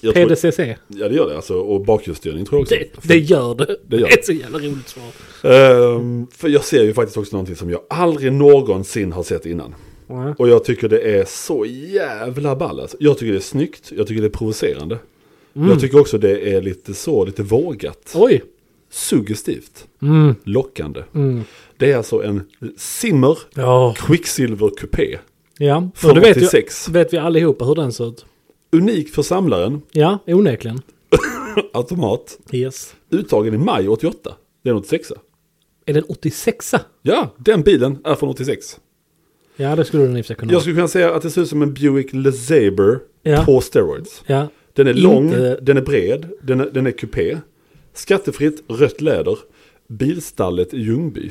jag tror,
PDCC?
Ja det gör det alltså, och bakhjulsstyrning tror jag också.
Det, det gör det.
Det gör
det är
det.
ett så jävla roligt svar.
Ehm, för jag ser ju faktiskt också någonting som jag aldrig någonsin har sett innan.
Ja.
Och jag tycker det är så jävla ball alltså. Jag tycker det är snyggt, jag tycker det är provocerande.
Mm.
Jag tycker också det är lite så, lite vågat.
Oj!
Suggestivt.
Mm.
Lockande.
Mm.
Det är alltså en Simmer
Ja.
Quicksilver Coupé.
Ja.
Från
Och det vet, ju,
86.
vet vi allihopa hur den ser ut.
Unik för samlaren,
Ja, onekligen.
automat.
Yes.
Uttagen i maj 88. Det är en 86
Är den 86
Ja, den bilen är från 86.
Ja, det skulle den i och för sig kunna
Jag
vara.
skulle kunna säga att det ser ut som en Buick LeSabre
Ja.
på steroids.
Ja.
Den är
Inte-
lång, den är bred, den är, den är kupé. Skattefritt, rött läder. Bilstallet i Ljungby.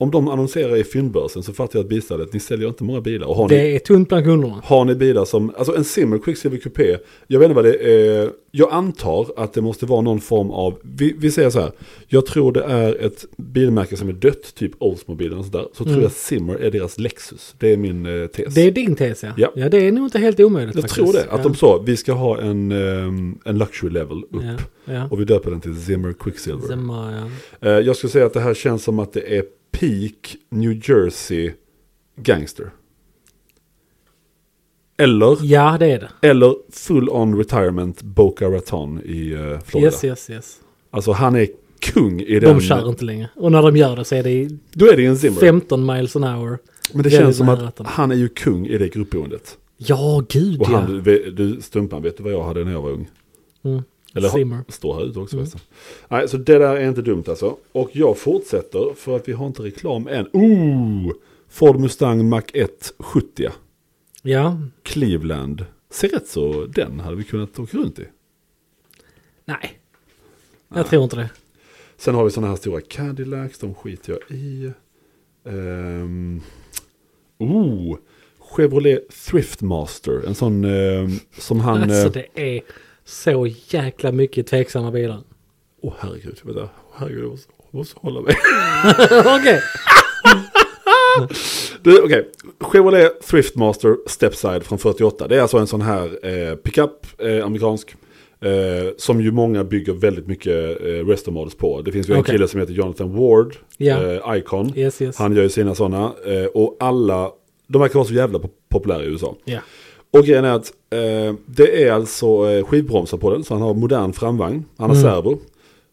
Om de annonserar i fyndbörsen så fattar jag att bilstallet, ni säljer inte många bilar. Och har, ni,
Det är tunt bland kunderna.
har ni bilar som, alltså en Simmer Quicksilver Coupé, jag vet inte vad det är, jag antar att det måste vara någon form av, vi, vi säger så här, jag tror det är ett bilmärke som är dött, typ Oldsmobile och sådär, så tror jag Simmer är deras Lexus. Det är min eh, tes.
Mm. Det är din tes ja.
Ja.
Ja, det är nog inte helt omöjligt
Jag
faktiskt.
tror det. Att
ja.
de sa, vi ska ha en, ehm, en luxury level upp.
Ja, ja.
Och vi döper den till Zimmer Quicksilver.
Zemma, ja.
Eh, jag skulle säga att det här känns som att det är peak New Jersey gangster. Eller,
ja, det är det.
eller full on retirement Boca Raton i eh, Florida.
Yes, yes, yes.
Alltså han är kung i den.
De kör inte längre. Och när de gör det så är det i
Då är det en Zimmer.
15 miles an hour.
Men det
Väldigt
känns som
nära
att
ratten.
han är ju kung i det gruppboendet.
Ja, gud
Och
ja.
han, du, du Stumpan, vet du vad jag hade när jag var ung?
Mm.
Eller
Simmer.
står här ute också
Mm.
förresten. Nej, så det där är inte dumt alltså. Och jag fortsätter för att vi har inte reklam än. Ooh! Ford Mustang Mach 1 70.
Ja.
Cleveland. Ser rätt så, den hade vi kunnat åka runt i.
Nej.
Ah.
Jag tror inte det.
Sen har vi sådana här stora Cadillacs, de skiter jag i. Um, oh! Chevrolet Thriftmaster, en sån ehm, som han...
alltså
eh,
det är så jäkla mycket tveksamma bilar. <laughs>
Åh herregud, vänta. Åh herregud, jag måste, jag måste hålla mig.
Okej.
Du, Okej, Chevrolet Thriftmaster Stepside från 48. Det är alltså en sån här eh, pickup, eh, amerikansk. Eh, som ju många bygger väldigt mycket eh, resto models på. Det finns ju en
Okej.
kille som heter Jonathan Ward,
Ja.
eh, Icon.
Yes, yes.
Han gör ju sina sådana. Eh, och alla, de verkar vara så jävla pop- populära i USA.
Ja.
Och grejen är att eh, det är alltså eh, skivbromsar på den, så han har modern framvagn, han har
Mm.
servo,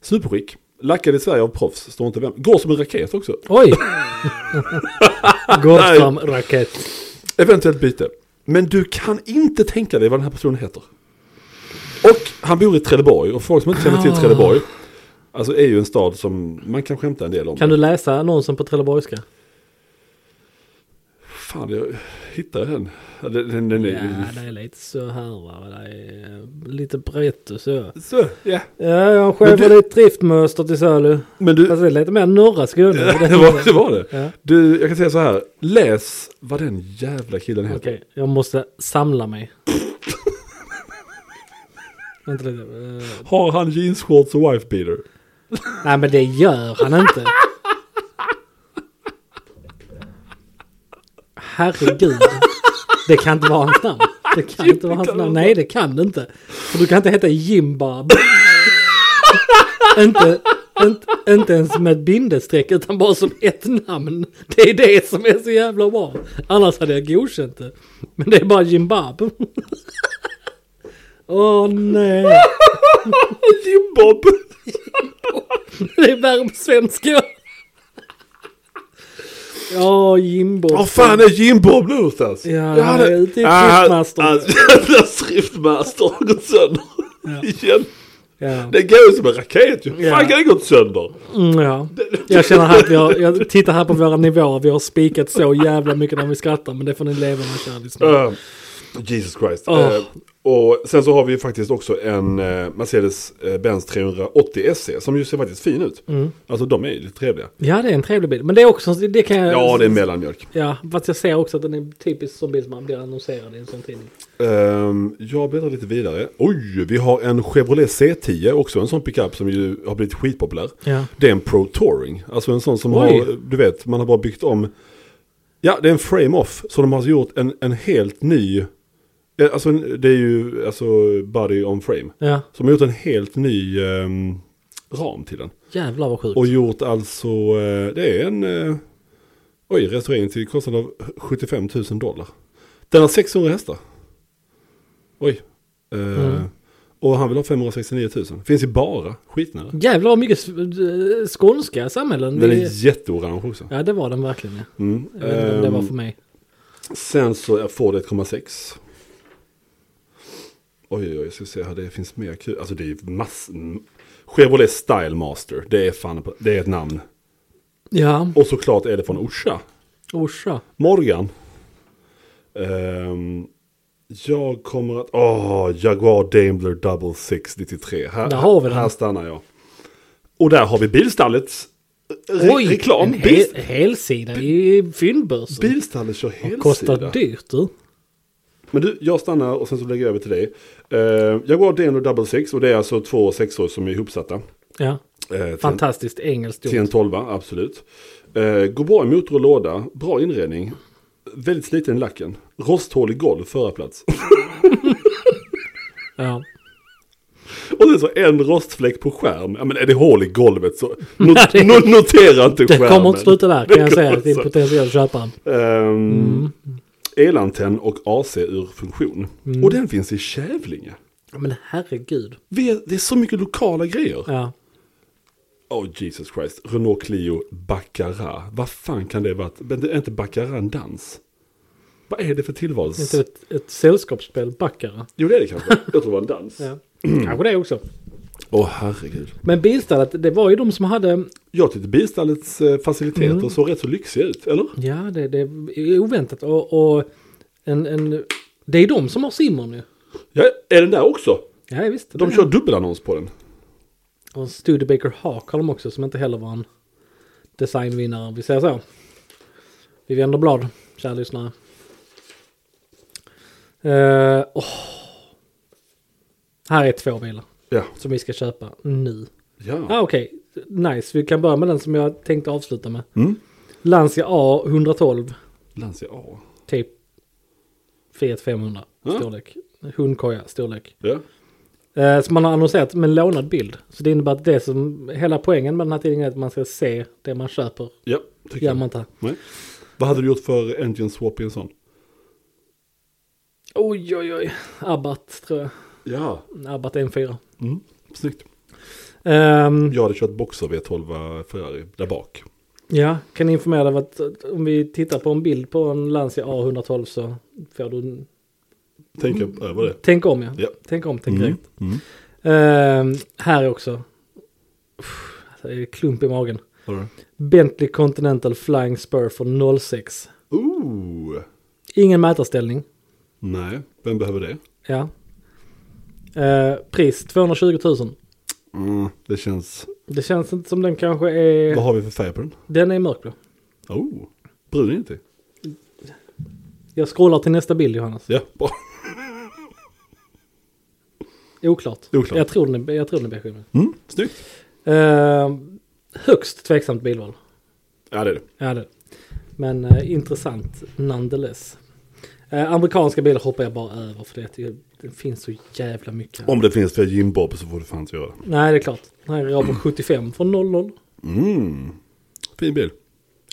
superskick, lackad i Sverige av proffs, står inte vem, går som en raket också, <laughs>
Oj!
Nej.
Goldström-raket.
eventuellt byte. Men du kan inte tänka dig vad den här personen heter. Och han bor i Trelleborg, och folk som inte känner till
Ah.
Trelleborg, alltså är ju en stad som man kan skämta en del om.
Kan du läsa annonsen på trelleborgska?
Fan, jag hittade den. Ja, Den, den, den är...
Ja, det är lite så här va. Det är eh, lite brett och så.
Så, ja.
Ja, jag har
Men du-
Chevrolet du... driftmönster till salu.
Men du,
Fast det är lite mer norra Skåne.
<laughs> det var det. Var det.
Alltså, Ja.
Du, jag kan säga så här, läs vad den jävla killen heter.
Okej, jag måste samla
<laughs>
mig. Vänta lite. eh,
Har han jeansshorts och wife beater? <laughs>
nej men det gör han inte. Herregud. Det kan inte vara hans namn. Det kan inte vara hans namn. Nej det kan det inte. För du kan inte heta Jimbab. inte, inte, inte ens med ett bindestreck utan bara som ett namn. Det är det som är så jävla bra. Annars hade jag godkänt det. Men det är bara Jimbab. Åh nej.
Jimbob!
Det är värre på svenska. Ja, Jimbo.
Vad fan är Jimbob nu någonstans?
Ja, han är ute i Thriftmaster.
alltså. Ah, Hans <laughs> jävla thriftmaster har gått sönder. Igen.
Ja.
Det går ju som en raket ju.
Ja.
Fan kan det gått sönder?
Mm, ja. Jag känner här att vi har, jag tittar här på våra nivåer. Vi har spikat så jävla mycket när vi skrattar. Men det får ni leva med kära lyssnare.
Eh, Jesus Christ.
Åh.
Eh, och sen så har vi ju faktiskt också en eh, Mercedes-Benz 380 SE som ju ser faktiskt fin ut.
Mm.
Alltså de är ju lite trevliga.
Ja, det är en trevlig bild. Men det är också, det kan jag...
Ja, det är mellanmjölk.
Ja, fast jag ser också att den är typisk som bild som man blir annonserad i en sån tidning.
Ehm, jag bläddrar lite vidare. Oj, vi har en Chevrolet C10, också en sån pickup som ju har blivit skitpopulär.
Ja.
Det är en Pro Touring, alltså en sån som
Oj.
har, du vet, man har bara byggt om. Ja, det är en frame-off, så de har alltså gjort en, en helt ny, eh, alltså en- det är ju alltså body on frame.
Ja,
Så de har gjort en helt ny ehm, ram till den.
jävlar vad sjukt.
Och gjort alltså, eh, det är en, eh, oj, restaurering till kostnad av 75 000 dollar. Den har 600 hästar. Oj. Eh,
Mm.
Och han vill ha 569 000. Finns i bara, skitnära.
Jävlar vad mycket s- eh, skånska samhällen.
Den
vi-
är jätteorange också.
Ja, det var den verkligen. Ja.
Mm.
Jag vet inte om det var
Ehm,
för mig.
Sen så är Ford 1,6. Oj, oj, oj, jag ska se här, det finns mer kul. Alltså det är ju mass... Chevrolet Stylemaster, det är fan, på- det är ett namn.
Ja,
Och såklart är det från Orsa.
Orsa.
Morgan. Ehm, jag kommer att... Åh, Jaguar Daimler Double Six 93. Här,
Där har vi den.
här stannar jag. Och där har vi bilstallets re-
Oj,
reklam.
en
Bil,
hel, helsida i fyndbörsen.
bilstallet kör helsida.
Kostar dyrt du.
Men du, jag stannar och sen så lägger jag över till dig. Eh, jag går Daimler Double Six och det är alltså två sexor som är ihopsatta.
Ja.
Uh, till, en,
Fantastiskt engelskt
till en
gjort.
tolva, absolut. Eh, går bra i motor och låda, bra inredning. Väldigt sliten i lacken. Rosthålig golv, förarplats.
Ja.
Och sen så en rostfläck på skärm. Ja men är det hål i golvet
<laughs>
så not,
det-
no- notera inte
Det
skärmen.
kommer inte sluta där kan jag
Det
säga
kommer
till
så.
potentiella köpare.
Ehm,
Mm.
Elantenn och AC ur funktion.
Mm.
Och den finns i Kävlinge.
Men herregud.
Vi är, det är så mycket lokala grejer.
Ja.
Oh Jesus Christ. Renault Clio Baccarat. Vad fan kan det vara? Men det är inte Baccarat en dans? Vad är det för
Det är
tillvals?
inte ett, ett sällskapsspel, backare.
Jo det är det kanske. Jag tror det var en dans. Åh
<laughs> Ja.
Mm.
Kanske det också.
herregud.
Men bilstallet, det var ju de som hade...
Jag tyckte bilstallets eh, faciliteter
Mm.
såg rätt så lyxiga ut, eller?
Ja, det, det är oväntat. Och, och en, en, det är de som har Simon nu.
Ja, är den där också?
Ja, visst.
De kör dubbelannons på den.
Och en Studebaker Hawk har de också som inte heller var en designvinnare. om Vi säger så. Vi vänder blad, kära lyssnare. Eh, åh. Här är två bilar
Ja.
som vi ska köpa nu.
ja.
Ah, Okej, nice. Vi kan börja med den som jag tänkte avsluta med.
Mm.
Lancia A 112,
Lancia A.
typ Fiat 500
Ja.
storlek. Hundkoja storlek.
Ja.
Eh, som man har annonserat med en lånad bild. Så det innebär att det som, hela poängen med den här tidningen är att man ska se det man köper.
Ja, tycker
Gör
jag.
man inte.
Nej. Vad hade du gjort för engine swap i en sån?
Oj, oj, oj. Abbat tror jag.
Ja.
Abbat M4.
Mm. Snyggt.
Ehm,
Jag hade kört boxer V12 Ferrari där bak.
ja, kan informera dig om att att om vi tittar på en bild på en Lancia A112 så får du en
Tänk över det.
Tänk om ja.
Ja.
Tänk om, tänk
Mm.
direkt.
Mm.
Ehm, här också. Uff, alltså, det är klump i magen.
Har du det?
Bentley Continental Flying Spur från 06.
Ooh.
Ingen mätarställning.
Nej, vem behöver det?
Ja. Eh, pris 220 000.
Mm. Det känns...
Det känns inte som den kanske är...
Vad har vi för färg på den?
Den är mörkblå.
Oh. Brun är inte.
Jag scrollar till nästa bild Johannes.
Ja, bra.
Oklart.
Oklart.
Jag tror den är, jag tror den är beige.
Mm. Snyggt.
Ehm, högst tveksamt bilval.
Ja, det är det.
Ja, det. Men eh, intressant nonetheless. Eh, amerikanska bilar hoppar jag bara över för det, är- det finns så jävla mycket.
Om det finns för Jim Bob så får du fan göra det.
Nej, det är klart. Den här är Robert 75 från 00.
Mm. Fin bil.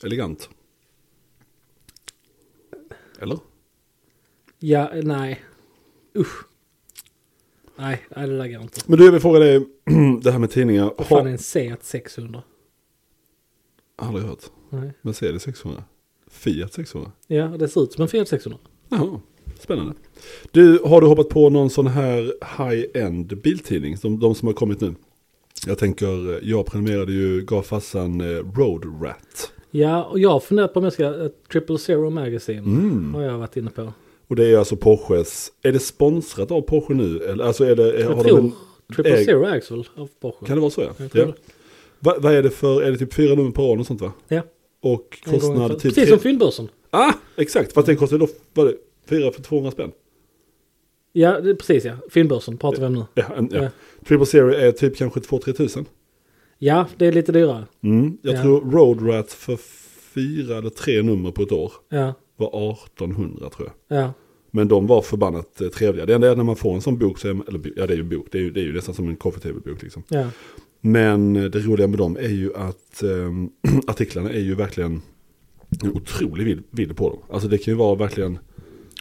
Elegant. Eller?
Ja, eh, nej. Usch. Nej, nej, det där går inte.
Men du, jag vill fråga dig <clears throat> det här med tidningar.
Vad fan är
Har
en Seat 600?
aldrig hört.
Nej.
Mercedes 600. Fiat 600.
Ja, det ser ut som en Fiat 600.
Jaha, spännande. Du, har du hoppat på någon sån här high-end biltidning? De, de som har kommit nu. Jag tänker, jag prenumererade ju, gav farsan eh, Road Rat.
Ja, och jag har funderat på om jag ska... eh, Triple Zero Magazine
Mm.
har jag varit inne på.
Och det är alltså Porsches, är det sponsrat av Porsche nu? Eller, alltså är det, är,
Jag
har
tror
de en,
Triple
äg-
Zero ägs väl av Porsche?
kan det vara så? Ja.
Jag tror
ja. Va, vad är det för, är det typ fyra nummer per år och sånt va?
Ja,
Och
en gång
kostnad
för-
typ...
Precis
tre-
som fyndbörsen.
Ah, exakt. Fast den kostar då, vad är det, fyra för 200 spänn?
Ja, det, precis ja. Fyndbörsen pratar vi om nu.
Ja, en, ja.
Ja.
Triple Zero är typ kanske 2-3 tusen.
Ja, det är lite dyrare.
Mm, jag
Ja.
tror Road Rat för fyra eller tre nummer på ett år
Ja,
var 1800 tror jag.
ja.
Men de var förbannat eh, trevliga. Det enda är när man får en sån bok, så är man, eller bo- ja det är ju en bok, det är ju, det är ju nästan som en coffee-table-bok liksom.
ja.
Men eh, det roliga med dem är ju att ehm, <clears throat> artiklarna är ju verkligen en otrolig vidd- vidd på dem. Alltså det kan ju vara verkligen,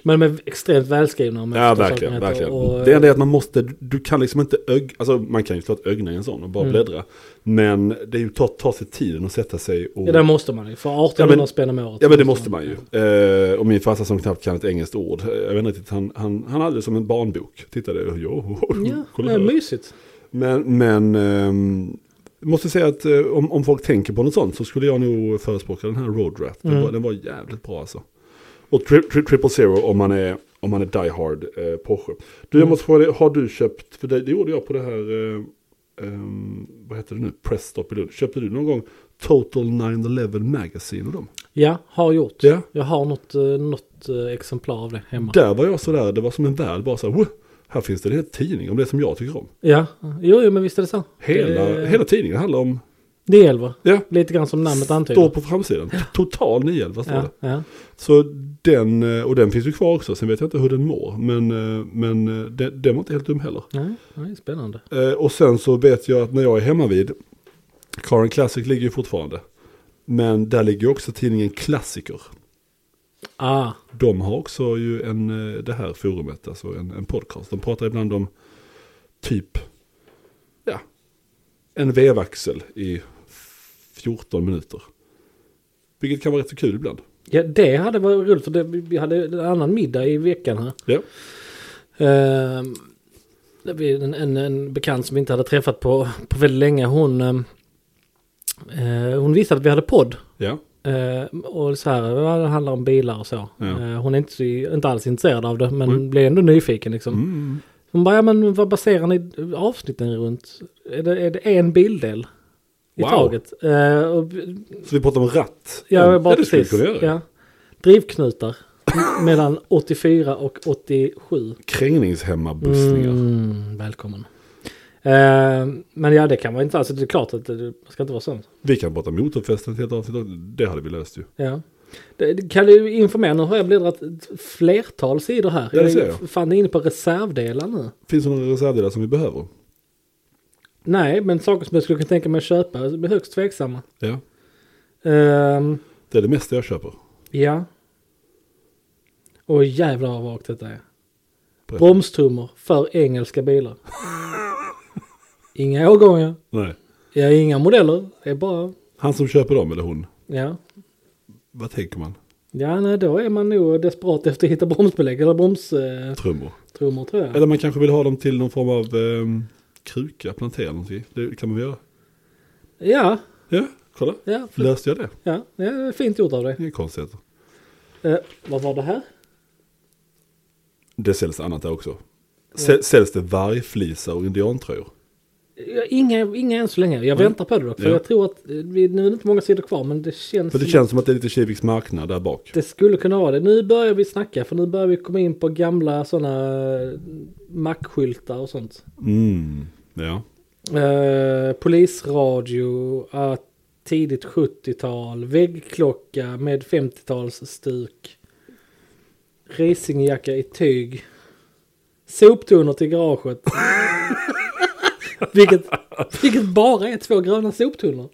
Men de är extremt välskrivna. om jag
ja
förstår
verkligen,
saken rätt.
verkligen.
Och,
det enda är att man måste, du kan liksom inte ög, alltså man kan ju såklart ögna i en sån och bara
Mm.
bläddra. Men det är ju ta, ta sig tiden och sätta sig och...
eh, ja, det måste man ju. För 1800
Ja, men-
spänn om året.
Ja men det måste man ju. Eh, och min farsa som knappt kan ett engelskt ord. eh, Jag vet inte riktigt, han, han, han hade det som en barnbok. Tittade, jo,
Ja,
kolla
det är
här.
mysigt.
Men, men ehm, måste säga att eh, om, om folk tänker på något sånt så skulle jag nog förespråka den här Road Rat. Den,
Mm.
var, den var jävligt bra alltså. Och tri, tri, Triple Zero om man är, om man är Die Hard eh, Porsche. Du jag
Mm.
måste fråga dig, har du köpt, för det, det gjorde jag på det här, eh, ehm, vad heter det nu, Pressstop i Lund. Köpte du någon gång Total 9-11 Magazine och dem?
Ja, har gjort.
Ja.
Jag har något, eh, något eh, exemplar av det hemma.
Där var jag sådär, det var som en värld bara så här, "Woh, här finns det en hel tidning om det som jag tycker om.
Ja, jo, jo men visst är det så.
Hela,
det,
hela tidningen handlar om,
Det är elva.
ja,
Lite grann som namnet antyder.
står på framsidan, total 911 står
Typ. ja,
det.
ja.
Så den, eh, och den finns ju kvar också, sen vet jag inte hur den mår, men, eh, men eh, den, den var inte helt dum heller.
Nej, nej, det är spännande.
Eh, Och sen så vet jag att när jag är hemma vid Karen Classic ligger ju fortfarande, men där ligger ju också tidningen Klassiker.
Ah,
De har också ju en, eh, det här forumet, alltså en, en podcast. De pratar ibland om typ, ja, en vevaxel i 14 minuter. Vilket kan vara rätt så kul ibland.
ja, det hade varit roligt för det, vi hade en annan middag i veckan här.
Ja.
Ehm, det blir en, en, en bekant som vi inte hade träffat på, på väldigt länge. Hon, ehm, eh, hon visste att vi hade podd.
Ja.
Eh, och så här, ja, det handlar om bilar och så.
Ja.
Eh, hon är inte, så, inte alls intresserad av det men
Mm.
blev ändå nyfiken liksom.
Mm.
Hon bara, ja men vad baserar ni avsnitten runt? Är det, är det en bildel? I
Wow.
taget. Eh, och,
Så vi pratar om ratt.
ja, bara
ja, det skulle vi
precis.
kunna göra.
Ja. Drivknutar mellan 84 och 87.
Krängningshemmabussningar.
Mm, välkommen. Eh, men ja, det kan vara inte alls. Det är klart att det det ska inte vara sånt.
Vi kan prata motorfästet helt avsnitt. och Det hade vi löst ju.
Ja. Det, det kan du informera, nu har jag bläddrat ett flertal sidor här.
Ja, det ser
jag är
jag.
fan inne på reservdelar nu.
Finns det några reservdelar som vi behöver?
Nej, men saker som jag skulle kunna tänka mig att köpa är högst tveksamma.
Ja.
Ehm,
Det är det mesta jag köper.
ja. Och jävlar vad vagt detta är.
Berätta.
Bromstrummor för engelska bilar. inga årgångar,
Nej.
ja, inga modeller. Det är bara,
Han som köper dem eller hon.
ja.
Vad tänker man?
Ja, nej, då är man nog desperat efter att hitta bromsbelägg eller bromstrummor
Trummor.
tror jag.
Eller man kanske vill ha dem till någon form av ehm, kruka, plantera någonting. Det kan man väl göra.
Ja,
Ja, kolla.
ja,
Löste jag det?
ja, ja, det är fint gjort av dig.
Inga konstigheter.
Eh, vad var det här?
Det säljs annat där också. Säl- Säljs det vargflisar och indiantröjor?
Ja, Inga, inga än så länge. Jag väntar på det dock. För
Ja.
jag tror att, eh, vi, nu är det inte många sidor kvar men det känns,
Men det
som
känns som att det är lite Kiviks marknad där bak.
att det skulle kunna vara det. Nu börjar vi snacka för nu börjar vi komma in på gamla sådana mackskyltar och sånt.
Mm, ja.
Eh, polisradio, eh, tidigt 70-tal, väggklocka med 50-talsstuk. Racingjacka i tyg. Soptunnor till
<laughs>
garaget. vilket, vilket bara är två gröna soptunnor.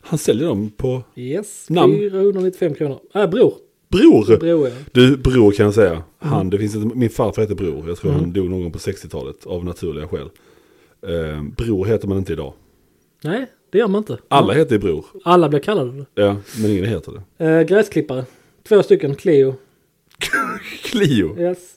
Han säljer dem på
Yes,
Namn?
495 kronor. Äh, bror.
Bror!
Bror ja.
Du, Bror kan jag säga. Han, det finns ett, min farfar heter Bror. Jag tror han dog någon gång på 60-talet av naturliga skäl. Eh, bror heter man inte idag.
Nej, det gör man inte.
Alla heter Bror.
Alla blir kallade
Ja, men ingen heter det.
det. Eh, gräsklippare. Två stycken, Clio.
Clio!
Yes.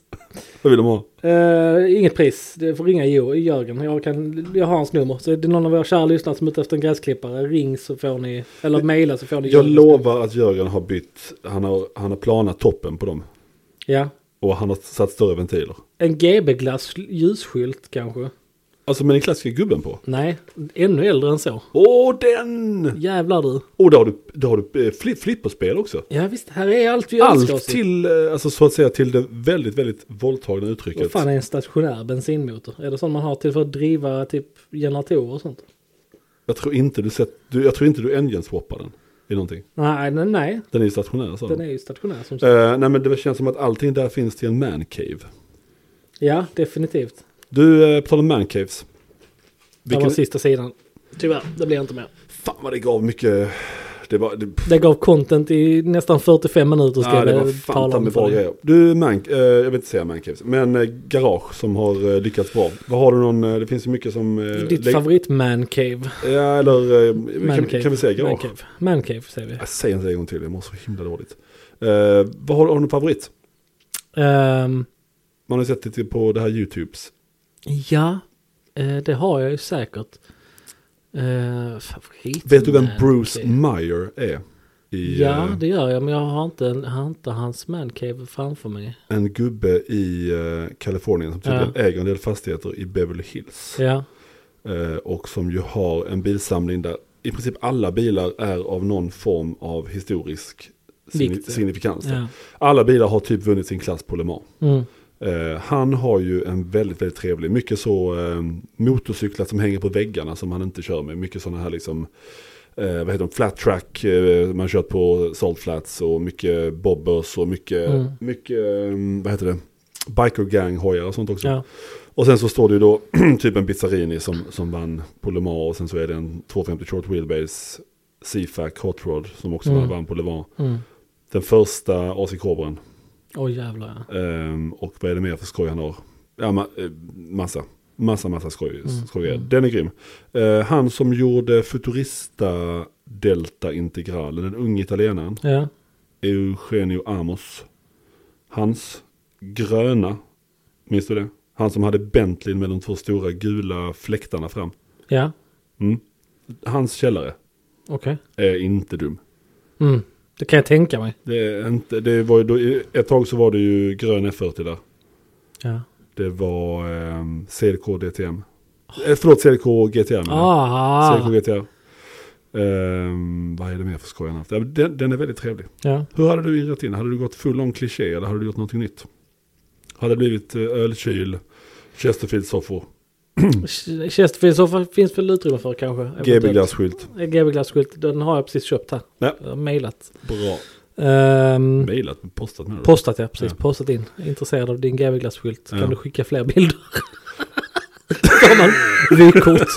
Vad vill de ha?
Eh, inget pris, det får ringa Jo- Jörgen. Jag, kan, jag har hans nummer. Så är det någon av era kära lyssnare som är ute efter en gräsklippare, ring så får ni, eller mejla så får ni
Jag
Jörgens
lovar att Jörgen har bytt, han har, han har planat toppen på dem.
Ja.
Och han har satt större ventiler.
En GB-glass ljusskylt kanske?
Alltså med den klassiska gubben på.
Nej, ännu äldre än så.
Åh den!
Jävlar du.
Och då har du, då har du eh, fli, flipperspel också.
Ja visst, här är allt vi önskar
Allt
oss.
till, eh, alltså så att säga till det väldigt, väldigt våldtagna uttrycket.
Vad fan är en stationär bensinmotor? Är det sån man har till för att driva typ generatorer och sånt?
Jag tror inte du sett, du, jag tror inte du engine-swappar den i någonting.
Nej, nej, nej.
Den är ju stationär sa
Den
de.
är ju stationär som sagt.
Eh, nej men det känns som att allting där finns till en mancave. Eh.
Ja, definitivt.
Du, eh, på tal om mancaves.
Det
Vilken,
var sista sidan. Tyvärr, det blir inte mer.
fan vad det gav mycket, det var, det,
Det gav content i nästan 45 minuter ska
ja, det
jag
var fan
tala
ta
om.
mig
för
bra
dig.
grejer. Du, man, eh, jag vill inte säga mancaves, men eh, garage som har eh, lyckats bra. Vad har du någon, eh, det finns ju mycket som... Eh,
Ditt
lägg-
favorit mancave.
Ja, eller eh, kan,
Mancave.
kan vi säga Alltså. garage?
Mancave. Mancave säger vi.
Jag säger inte det en gång till, jag mår så himla dåligt. Eh, vad har, har du någon favorit?
Ehm,
Man har ju sett det till på det här YouTubes.
ja, eh, det har jag ju säkert. Uh, favorit
Vet du vem
mancave?
Bruce Meyer är?
Mm,
I,
Ja,
eh,
det gör jag, men jag har inte, en- har inte hans mancave framför mig.
En gubbe i eh, Kalifornien som tydligen
Ja.
äger en del fastigheter i Beverly Hills.
Ja,
Eh, och som ju har en bilsamling där i princip alla bilar är av någon form av historisk signi-
Vikt, ja.
signifikans.
ja.
Alla bilar har typ vunnit sin klass på Le Mans.
Mm.
Eh, han har ju en väldigt, väldigt trevlig, mycket så eh, motorcyklar som hänger på väggarna som han inte kör med. Mycket sådana här liksom, eh, vad heter de, flat track, eh, man har kört på salt flats och mycket bobbers och mycket,
Mm.
mycket eh, vad heter det, biker gang hojar och sånt också.
Ja.
Och sen så står det ju då <clears throat> typ en Bizzarini som, som vann på Le Mans och sen så är det en 250 short wheelbase C-Fac Hot Rod som också
Mm.
vann på Le Mans.
Mm.
Den första AC Cobran.
Åh jävlar ja.
Ehm, och vad är det mer för skoj han har? Ja, ma- eh, massa. Massa, massa skoj. skoj. Den är grym. Eh, han som gjorde Futurista Delta Integralen, den unge italienaren,
Ja,
Eugenio Amos. Hans gröna, minns du det? Han som hade Bentley med de två stora gula fläktarna fram.
ja.
Mm. Hans källare
okej.
är inte dum.
Mm. Det kan jag tänka mig.
Det är inte, det var ju då, ett tag så var det ju grön F40 där.
Ja.
Det var ehm, CLK DTM. Eh, förlåt, CLK GTR. menar jag.
Ah,
CLK GTR. Ehm, vad är det mer för skoj han haft? Ja, men Den, den är väldigt trevlig.
ja.
Hur hade du inrett in? Hade du gått full on kliché eller hade du gjort någonting nytt? Hade det blivit eh, ölkyl, Chesterfield-soffor?
Chest så finns väl utrymme för kanske.
GB-glasskylt.
GB Glass-skylt, den har jag precis köpt här.
Ja.
Jag har mailat.
Bra.
Ehm,
Mailat, postat med det.
postat ja, precis.
Ja.
Postat in. Intresserad av din GB Glass-skylt.
Ja.
Kan du skicka fler bilder? <laughs> Får man
<laughs>
vykort.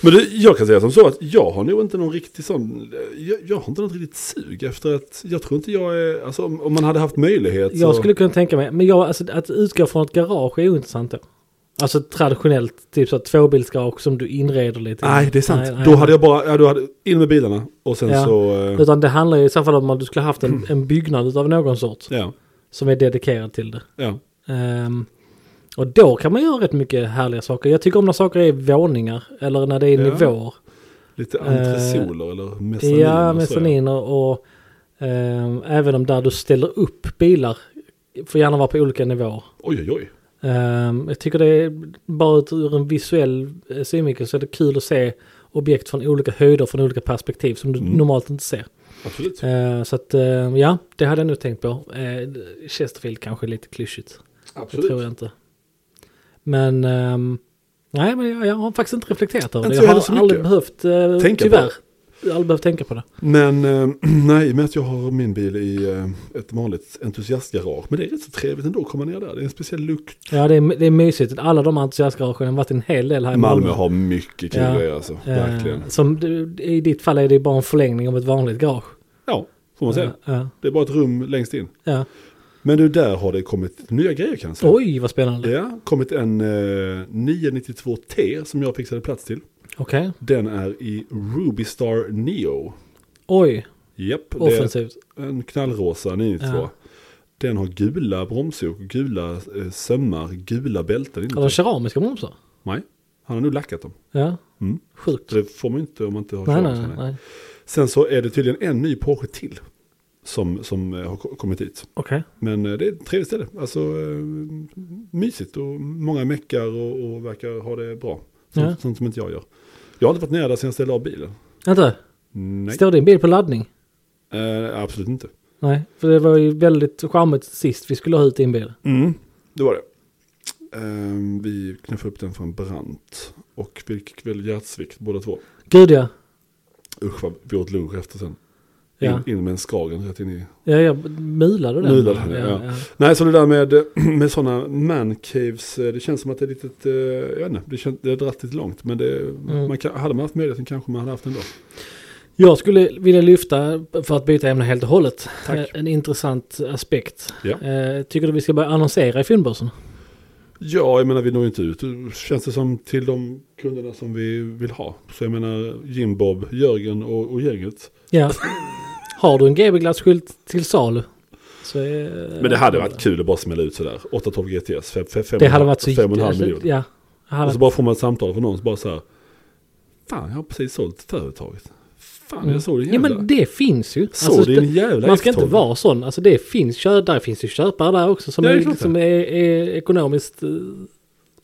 Men du, jag kan säga som så att jag har nog inte någon riktig sån, eh, jag, jag har inte något riktigt sug efter att, jag tror inte jag är, alltså om, om man hade haft möjlighet
Jag
så,
skulle kunna tänka mig, men jag, alltså, att utgå från ett garage är ju intressant då. Alltså ett traditionellt, typ så här tvåbilsgarage som du inreder lite.
Nej, det är sant.
Nej, nej,
då hade
nej.
jag bara, ja, då hade, in med bilarna och sen
Ja.
så, eh,
Utan det handlar ju i så fall om att du skulle haft en, en byggnad av någon sort
ja,
som är dedikerad till det.
ja.
Ehm, och då kan man göra rätt mycket härliga saker. Jag tycker om när saker är våningar eller när det är
Ja.
nivåer.
Lite
Eh,
entresoler eller mezzaniner.
Ja,
och så,
mezzaniner och ehm, även om där du ställer upp bilar får gärna vara på olika nivåer.
Oj, oj, oj.
Ehm, jag tycker det är bara ut- ur en visuell eh, synvinkel så är det kul att se objekt från olika höjder, från olika perspektiv som du
Mm.
normalt inte ser.
Absolut.
Eh, så att eh, ja, det hade jag nog tänkt på. Uh, Chesterfield kanske är lite klyschigt. Det tror jag inte. Men ehm, nej, men jag, jag har faktiskt inte reflekterat över det.
Inte
Jag
jag heller
har
så
aldrig
mycket.
behövt, uh,
Tänka på
tyvärr, aldrig behövt tänka på det.
Men eh, <clears throat> nej, med att jag har min bil i eh, ett vanligt entusiastgarage. Men det är rätt så trevligt ändå att komma ner där. Det är en speciell lukt.
Ja, det är, det är mysigt. Alla de entusiastgaragen har varit en hel del här i Malmö.
Malmö har mycket kul
Ja.
grejer alltså. Verkligen.
Eh, som du, I ditt fall är det bara en förlängning av ett vanligt garage.
Ja, får man säga.
Ja, ja,
Det är bara ett rum längst in.
ja.
Men du, där har det kommit nya grejer kan jag säga.
Oj, vad spännande.
Ja, kommit en eh, 992T som jag fixade plats till.
Okej.
Den är i Ruby Star Neo.
Oj,
Japp, det är
offensivt.
en knallrosa 992.
Ja.
Den har gula bromsok, gula eh, sömmar, gula bälten
Har de
inuti.
keramiska bromsar?
Nej, han har nog lackat dem.
Ja,
Mm.
sjukt.
Så det får man ju inte om man inte har
Nej,
kört.
nej, nej.
Sen så är det tydligen en ny Porsche till som, som eh, har ko- kommit hit.
Okej.
Men eh, det är ett trevligt ställe. Alltså eh, mysigt och många meckar och, och verkar ha det bra. Sånt,
Ja.
sånt som inte jag gör. Jag har inte varit nere där sen jag ställde av bilen.
Vänta,
Nej,
står din bil på laddning?
eh, absolut inte.
Nej, för det var ju väldigt charmigt sist vi skulle ha ut din bil.
Mm, det var det. Ehm, vi knuffade upp den för en brant. Och vi fick väl hjärtsvikt båda två.
Gud ja.
Usch vad vi åt lunch efter sen.
Ja,
In, in med en skagen rätt in i.
ja jag mulade den.
Mulade den, ja. Nej, så det där med, <clears throat> med sådana mancaves. eh, Det känns som att det är litet, eh, jag vet inte, det, känns, det har dratt lite långt. Men det, man kan, hade man haft möjligheten kanske man hade haft den då.
Jag skulle vilja lyfta, för att byta ämne helt och hållet, eh,
Tack.
en intressant aspekt.
Ja.
Eh, Tycker du vi ska börja annonsera i fyndbörsen?
Ja, jag menar vi når ju inte ut. Känns det som till de kunderna som vi vill ha. Så jag menar Jim Bob, Jörgen och, och gänget.
Ja. <laughs> Har du en GB-glasskylt till salu? Så, eh,
Men det hade varit kul att bara smälla ut sådär. 812 GTS, 5, 5,
Det hade varit så...
5,5
alltså,
miljoner.
Ja. Det hade
Och så
varit-
bara får man ett samtal från någon som bara så här. Fan, jag har precis sålt företaget. Fan, jag såg din
Mm. ja
jävla...
men det finns ju. Alltså,
Såg din jävla
man ska inte
F12.
vara sån. Alltså det finns, kö- där finns ju köpare där också som,
Ja, det är
är,
klart det.
som är, är ekonomiskt eh,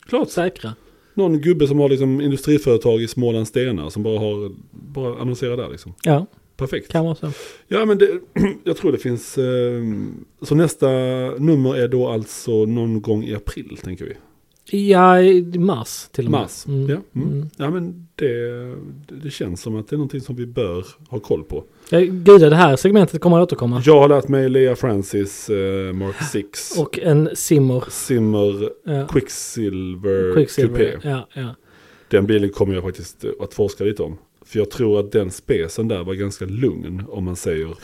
Klart.
säkra.
Någon gubbe som har liksom industriföretag i Småland Stenar som bara har, bara annonserar där liksom.
Ja,
Perfekt.
kan vara så.
Ja men det, <clears throat> jag tror det finns, eh, så nästa nummer är då alltså någon gång i april tänker vi.
Ja, i mars till och med.
Mars.
Mm.
Ja, mm.
Mm.
ja men det, det känns som att det är någonting som vi bör ha koll på.
Ja, Eh, Gud, det här segmentet kommer att återkomma.
Jag har lärt mig Lea Francis
<gasps>
eh, Mark 6
Och en simmer.
Simmer
Ja.
Quicksilver,
Quicksilver.
Coupé.
Ja, ja. <laughs>
Den bilen kommer jag faktiskt eh, att forska lite om. För jag tror att den spesen där var ganska lugn om man säger
<laughs>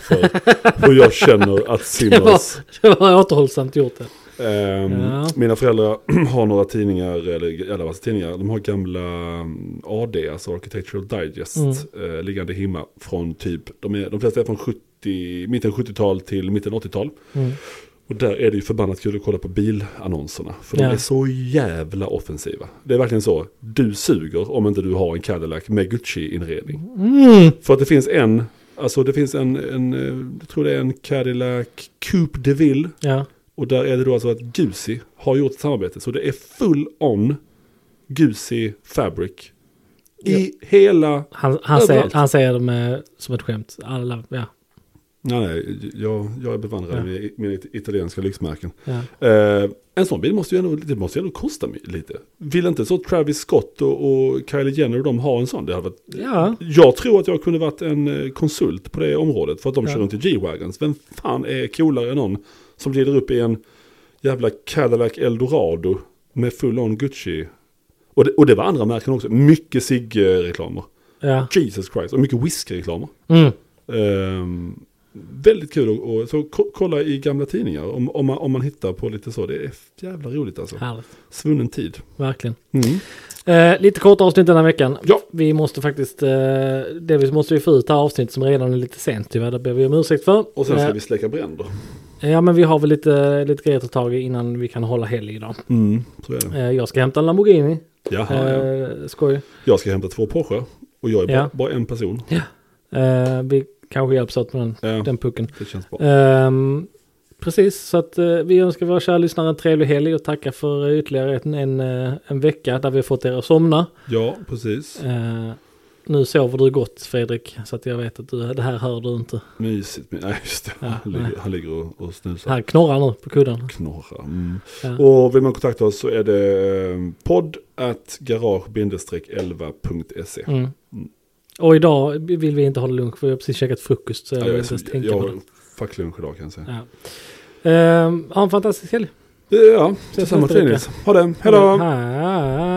för hur jag känner att
Det, var,
Simmers.
det var återhållsamt gjort. Det.
Ehm,
Ja.
Mina föräldrar <clears throat> har några tidningar, eller alla massa tidningar, de har gamla mm, AD, alltså Architectural Digest,
Mm.
eh, liggande hemma från typ, de, är, de flesta är från 70, mitten 70-tal till mitten 80-tal.
Mm.
Och där är det ju förbannat kul att kolla på bilannonserna, för de
Ja.
är så jävla offensiva. Det är verkligen så, du suger om inte du har en Cadillac med Gucci-inredning.
Mm.
För att det finns en, alltså det finns en, en, eh, jag tror det är en Cadillac Coupe de Ville,
Ja.
och där är det då alltså att Gucci har gjort ett samarbete. Så det är full on Gucci Fabric. I hela...
Han, han, säger,
Överallt.
han säger det med, som ett skämt. Alla, ja.
Nej, nej jag, jag är bevandrad i mina it- italienska lyxmärken.
Ja.
Eh, en sån bil måste ju ändå, det måste ju ändå kosta mi- lite. Vill inte så Travis Scott och, och Kylie Jenner och de ha en sån? Det hade varit,
Ja.
Jag tror att jag kunde varit en eh, konsult på det området för att de
Ja.
kör runt i G-Wagons. Vem fan är coolare än någon som glider upp i en jävla Cadillac Eldorado med full-on Gucci? Och det, och det var andra märken också. Mycket cigg-reklamer.
ja.
Jesus Christ. Och mycket whisky-reklamer.
Mm.
Ehm, väldigt kul att- att så ko- kolla i gamla tidningar om, om, man, om man hittar på lite så. Det är jävla roligt alltså.
Härligt.
Svunnen tid.
Verkligen. Eh, lite korta avsnitt den här veckan.
Ja.
Vi måste faktiskt, eh, delvis måste vi få ut det här avsnittet som redan är lite sent tyvärr. Det ber vi om ursäkt för.
Och sen ska
Eh,
vi släcka bränder.
Ja men vi har väl lite, lite grejer att ta tag i innan vi kan hålla helg idag.
Mm, så är det.
Eh, jag ska hämta en Lamborghini.
Jaha, ja.
Eh, skoj.
Jag ska hämta två Porsche. Och jag är bara,
Ja.
bara en person.
Eh, vi kanske hjälps åt med den,
Ja.
den pucken.
Det känns bra.
Ehm, precis, så att eh, vi önskar våra kära lyssnare en trevlig helg och tackar för eh, ytterligare en, en, eh, en vecka där vi har fått er att somna.
Ja, precis.
Eh, nu sover du gott Fredrik, så att jag vet att du, det här hör du inte.
Mysigt. Men, nej, just det.
Ja,
han,
nej.
ligger, han ligger och, och snusar.
Han knorrar nu på kudden.
Knorrar. Mm.
Ja.
Och vill man kontakta oss så är det eh, podd at garage-11.se.
Mm. Och idag vill vi inte hålla lunch för vi har precis käkat frukost så jag vill inte ens tänka
jag
på det.
har fuck lunch idag kan jag säga.
Ja. Ehm, ha en fantastisk helg.
Ja,
Ses
detsamma
nästa
till
vecka.
Dennis. Ha det, hej då!
Hej.